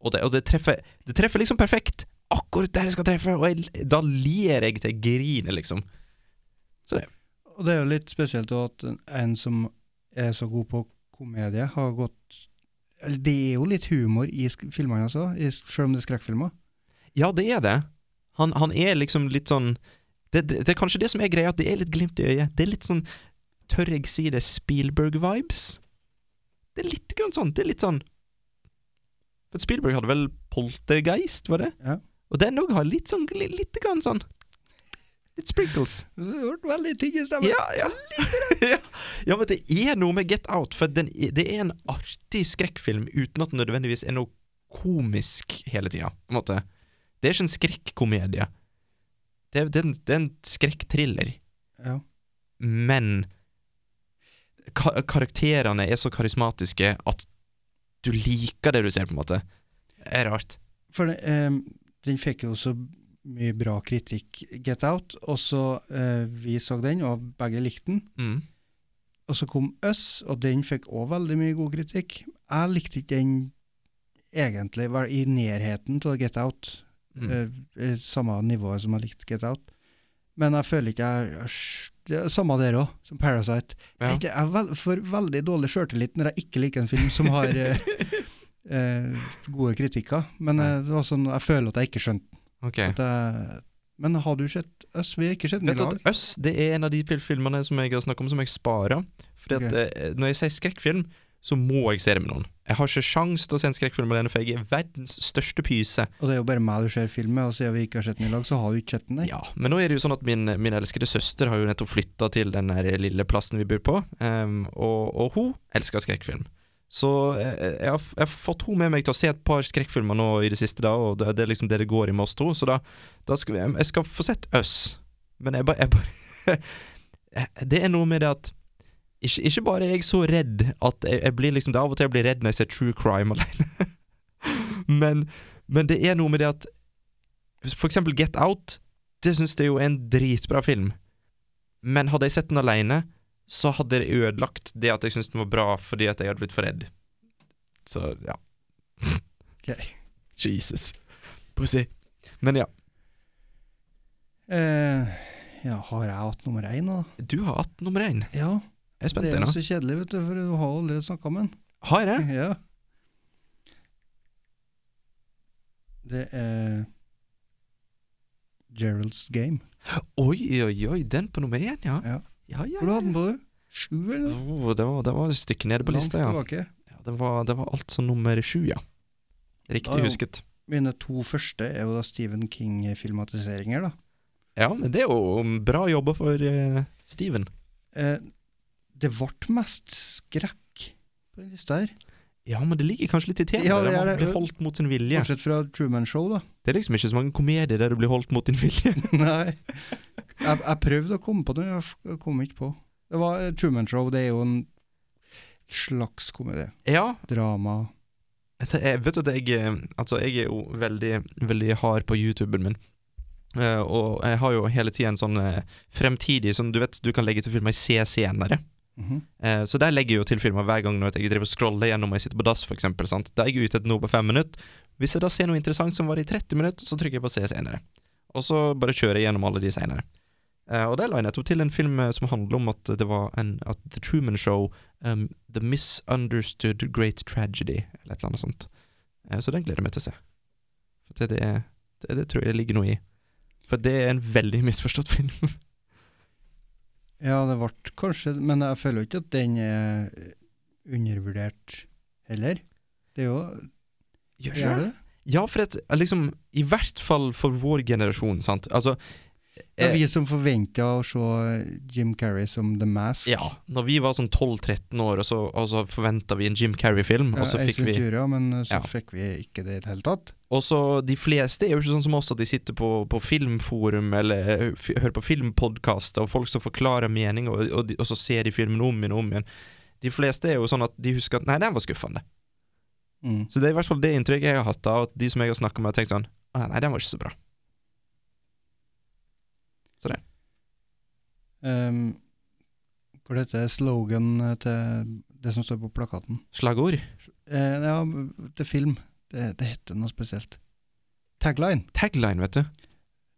K: Og det, og det, treffer, det treffer liksom perfekt! Akkurat der jeg skal treffe! Og jeg, da ler jeg til jeg griner, liksom.
J: Og det er jo litt spesielt også at en- en som er så god på komedie, har gått eller Det er jo litt humor i sk- filmene også, i, selv om det er skrekkfilmer.
K: Ja, det er det. Han, han er liksom litt sånn det, det, det er kanskje det som er greia, at det er litt glimt i øyet. Det er litt sånn Tør jeg si det Spielberg-vibes? Det er litt grann sånn. Det er litt sånn For Spielberg hadde vel Poltergeist, var det?
J: Ja.
K: Og den òg har litt sånn li- Litt grann sånn Litt sprinkles.
J: Det ble veldig tygg i stemmen.
K: Ja, ja. [LAUGHS] ja. ja, men det er noe med Get Out, for den, det er en artig skrekkfilm uten at det nødvendigvis er noe komisk hele tida, på en måte. Det er ikke en skrekkomedie. Det, er- det, er en- det er en skrekkthriller,
J: Ja.
K: men ka karakterene er så karismatiske at du liker det du ser, på en måte. Det er rart.
J: For det, ehm, den fikk jo så mye bra kritikk, Get Out, og så eh, vi så den, og begge likte den.
K: Mm.
J: Og så kom Us, og den fikk òg veldig mye god kritikk. Jeg likte ikke den egentlig, var i nærheten av Get Out.
K: Mm.
J: eh, eh, samme nivået som jeg likte Get Out. Men jeg føler ikke jeg, jeg s- det er Samme der òg, som Parasite.
K: Ja.
J: Jeg, jeg vel, får veldig dårlig sjøltillit når jeg ikke liker en film som har eh, eh, gode kritikker. Men eh, det var sånn, jeg føler at jeg ikke skjønte
K: [LAUGHS] Ok.
J: at jeg, Men har du sett Us? Vi har ikke sett den i
K: Vet du
J: lag.
K: at Us det er en av de fil- filmene som jeg har snakket om som jeg sparer. Fordi at eh, Når jeg sier skrekkfilm, så må jeg se det med noen. Jeg har ikke sjans til å se en skrekkfilm alene, for jeg er verdens største pyse.
J: Og det er jo bare meg du ser film med, og siden vi ikke har sett den i lag, så har du ikke sett den, nei.
K: Ja, Men nå er det jo sånn at min, min elskede søster har jo nettopp flytta til den der lille plassen vi bor på, em, og, og hun elsker skrekkfilm. Så eh, jeg har, f- jeg har fått hun med meg til å se et par skrekkfilmer nå i det siste, da, og det, det er liksom det det går i med oss to, så da, da skal vi, jeg, jeg skal få sett Us. Men jeg bare, jeg bare [LAUGHS] Det er noe med det at ikke, ikke bare er jeg så redd at jeg, jeg blir liksom Det er av og til jeg blir redd når jeg ser true crime [LAUGHS] alene. men, men det er noe med det at For eksempel Get Out. Det syns jeg jo er en dritbra film. Men hadde jeg sett den alene, så hadde det ødelagt det at jeg syntes den var bra fordi at jeg hadde blitt for redd. Så ja.
J: [LAUGHS] Ok.
K: Jesus. Pussy. Men ja.
J: Eh, ja, har jeg hatt nummer én, da?
K: Du har hatt nummer én.
J: Ja.
K: Jeg er spent.
J: Det er jo
K: Einar.
J: så kjedelig, vet du, for du har jo allerede snakka med den.
K: Har
J: [LAUGHS]
K: jeg?
J: Ja. Det er Gerald's Game.
K: Oi, oi, oi, den på nummer én, ja.
J: Ja.
K: ja, ja.
J: Hvor du hadde den på, du? Sju, eller?
K: Oh, det, var, det var et stykke nede på
J: Langt
K: lista, ja.
J: tilbake.
K: ja det, var, det var altså nummer sju, ja. Riktig
J: Ja, ja.
K: husket.
J: Mine to første er jo da Stephen King-filmatiseringer, da.
K: Ja, men det er jo bra jobba for eh, Steven.
J: Eh, det ble mest skrekk på den lista her.
K: Ja, men det ligger kanskje litt i temaet.
J: Ja, det
K: der
J: er
K: man
J: det.
K: blir holdt mot sin vilje.
J: Bortsett fra Truman Show,
K: [LAUGHS]
J: da.
K: Det er liksom ikke så mange komedier der du blir holdt mot din vilje.
J: Nei. Jeg, jeg prøvde å komme på det, men jeg f- jeg kom ikke på. Det var eh, Truman Show, det er jo en slags komedie.
K: [LAUGHS] ja,
J: Drama.
K: Det er- vet du at jeg, eh, altså jeg er jo veldig, veldig hard på YouTuben min. Eh, sånn, og jeg har jo hele tida en sånn eh, fremtidig som du vet du kan legge til filmer i se senere.
J: Mhm.
K: Eh, så der legger jeg jo til filmer hver gang når jeg driver og scroller gjennom og jeg sitter på dass, for eksempel, sant? Da er jeg ute etter noe på fem minutter. Hvis jeg da ser noe interessant som var i 30 minutter, så trykker jeg på se senere. Og så bare kjører jeg gjennom alle de senere. Eh, og der la jeg nettopp til en film eh, som handler om at det var en at The Truman Show um, The Misunderstood Great Tragedy, eller et eller annet sånt. Eh, så den gleder jeg meg til å se. For det, det, det, det tror jeg det ligger noe i. For det er en veldig misforstått film.
J: Ja, det ble kanskje Men jeg føler jo ikke at den er undervurdert heller. Det er jo
K: Gjør
J: Gjør det?
K: Ja, for et, liksom, i hvert fall for vår generasjon, sant. Altså,
J: Det er
K: eh,
J: vi som forventa å se Jim Carrey som The Mask.
K: ja, når vi var sånn 12-13 år, og så, og så forventa vi en Jim Carrey-film, og så fikk vi
J: Ventura, men eh, så
K: Ja.
J: fikk vi ikke det i det hele tatt.
K: Og så de fleste er jo ikke sånn som oss at de sitter på, på filmforum eller eh, f hører på filmpodkaster og folk som forklarer mening, og, og, de, og så ser de filmen om igjen og om igjen. De fleste er jo sånn at de husker at 'nei, den var skuffende'.
J: Mm.
K: Så det er i hvert fall det inntrykket jeg har hatt av at de som jeg har snakka med, har tenkt sånn 'Å, 'nei, den var ikke så bra'.
J: Um, hva heter det slogan eh, til det som står på plakaten?
K: Slagord?
J: Eh, ja, til film. Det, det heter noe spesielt. Tagline.
K: Tagline, vet du.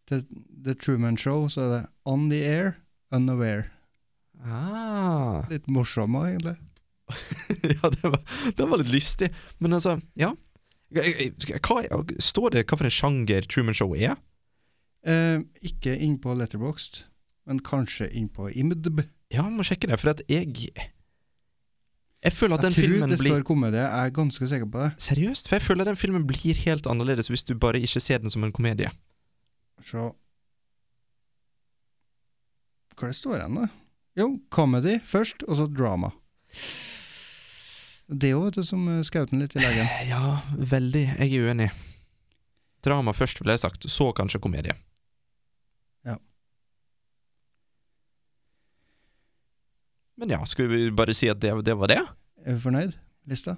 J: Til The Truman Show så er det 'On the air, unaware'.
K: Ah.
J: Litt morsommere, egentlig.
K: [LAUGHS] ja, det var, det var litt lystig. Men altså, ja. Hva, står det hva for en sjanger Truman Show er?
J: Eh, ikke innpå Letterboxd, men kanskje innpå IMDb.
K: Ja, må sjekke det, for at jeg Jeg føler at
J: Jeg
K: den
J: tror
K: filmen
J: det
K: blir
J: står komedie, jeg er ganske sikker på det.
K: Seriøst? For jeg føler den filmen blir helt annerledes hvis du bare ikke ser den som en komedie.
J: Se Hva det står igjen, da? Jo, comedy først, og så drama. Det er jo vet du, som eh, skjøt den litt i leggen.
K: Ja, veldig. Jeg er uenig. Drama først, ville jeg sagt. Så kanskje komedie.
J: Ja.
K: Men ja, skulle vi bare si at det, det var det?
J: Er vi fornøyd? Lista?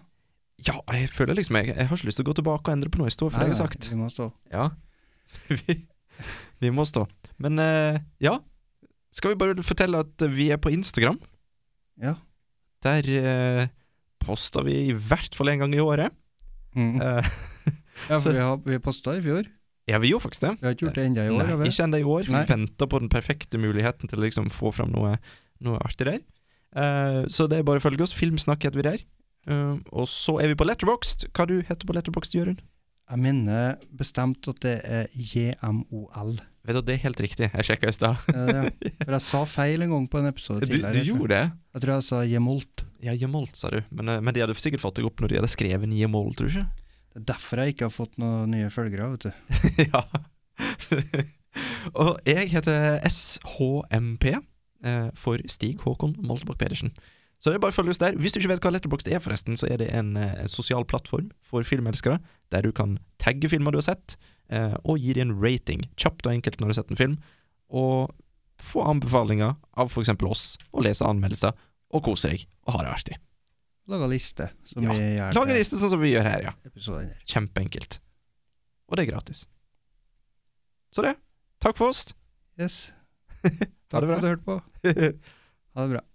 K: Ja, jeg føler liksom jeg, jeg har ikke lyst til å gå tilbake og endre på noe jeg står for, det jeg har sagt.
J: Vi må stå.
K: Ja. [LAUGHS] vi, vi må stå. Men eh, ja. Skal vi bare fortelle at vi er på Instagram?
J: Ja.
K: Der eh, poster vi i hvert fall en gang i året.
J: Mm.
K: Eh, [LAUGHS]
J: Ja,
K: så-
J: for vi, har- vi posta i fjor.
K: ja, vi gjorde faktisk det.
J: Vi har ikke gjort det enda i år. har
K: Nei,
J: vi?
K: ikke ennå i år. for
J: Nei.
K: Vi venter på den perfekte muligheten til å liksom få fram noe, noe artig der. Eh, så det er bare å følge oss. Filmsnakk heter vi der. Eh, og så er vi på Letterboxd. Hva du heter på Letterboxd, Jørund?
J: Jeg minner bestemt at det er JMOL.
K: Vet du, Det er helt riktig. Jeg sjekka i stad.
J: Er det
K: [LAUGHS]
J: det? For jeg sa feil en gang på en episode
K: Du,
J: tidligere.
K: du gjorde det?
J: Jeg tror jeg sa Jemolt.
K: Ja, Jemolt, sa du. Men, eh, men de hadde sikkert fått deg opp når de hadde skrevet nye mål, tror du ikke? [LAUGHS]
J: Det er derfor jeg ikke har fått noen nye følgere, vet du.
K: ja. og jeg heter SHMP eh, for Stig Håkon Moltebakk Pedersen. Så det er bare å følge oss der. Hvis du ikke vet hva Letterboxd er, forresten, så er det en, eh, en sosial plattform for filmelskere, der du kan tagge filmer du har sett, eh, og gi dem en rating, kjapt og enkelt når du har sett en film, og få anbefalinger av f.eks. oss, og lese anmeldelser, og kose deg, og ha det artig.
J: Laga liste, som
K: Ja,
J: vi gjør
K: Lag en liste sånn som vi gjør her, ja.
J: til episoden her.
K: Kjempeenkelt. Og det er gratis. Så det. Takk for oss.
J: Yes.
K: Ha
J: Takk for
K: det bra. [LAUGHS]
J: at du hørte på. Ha det bra.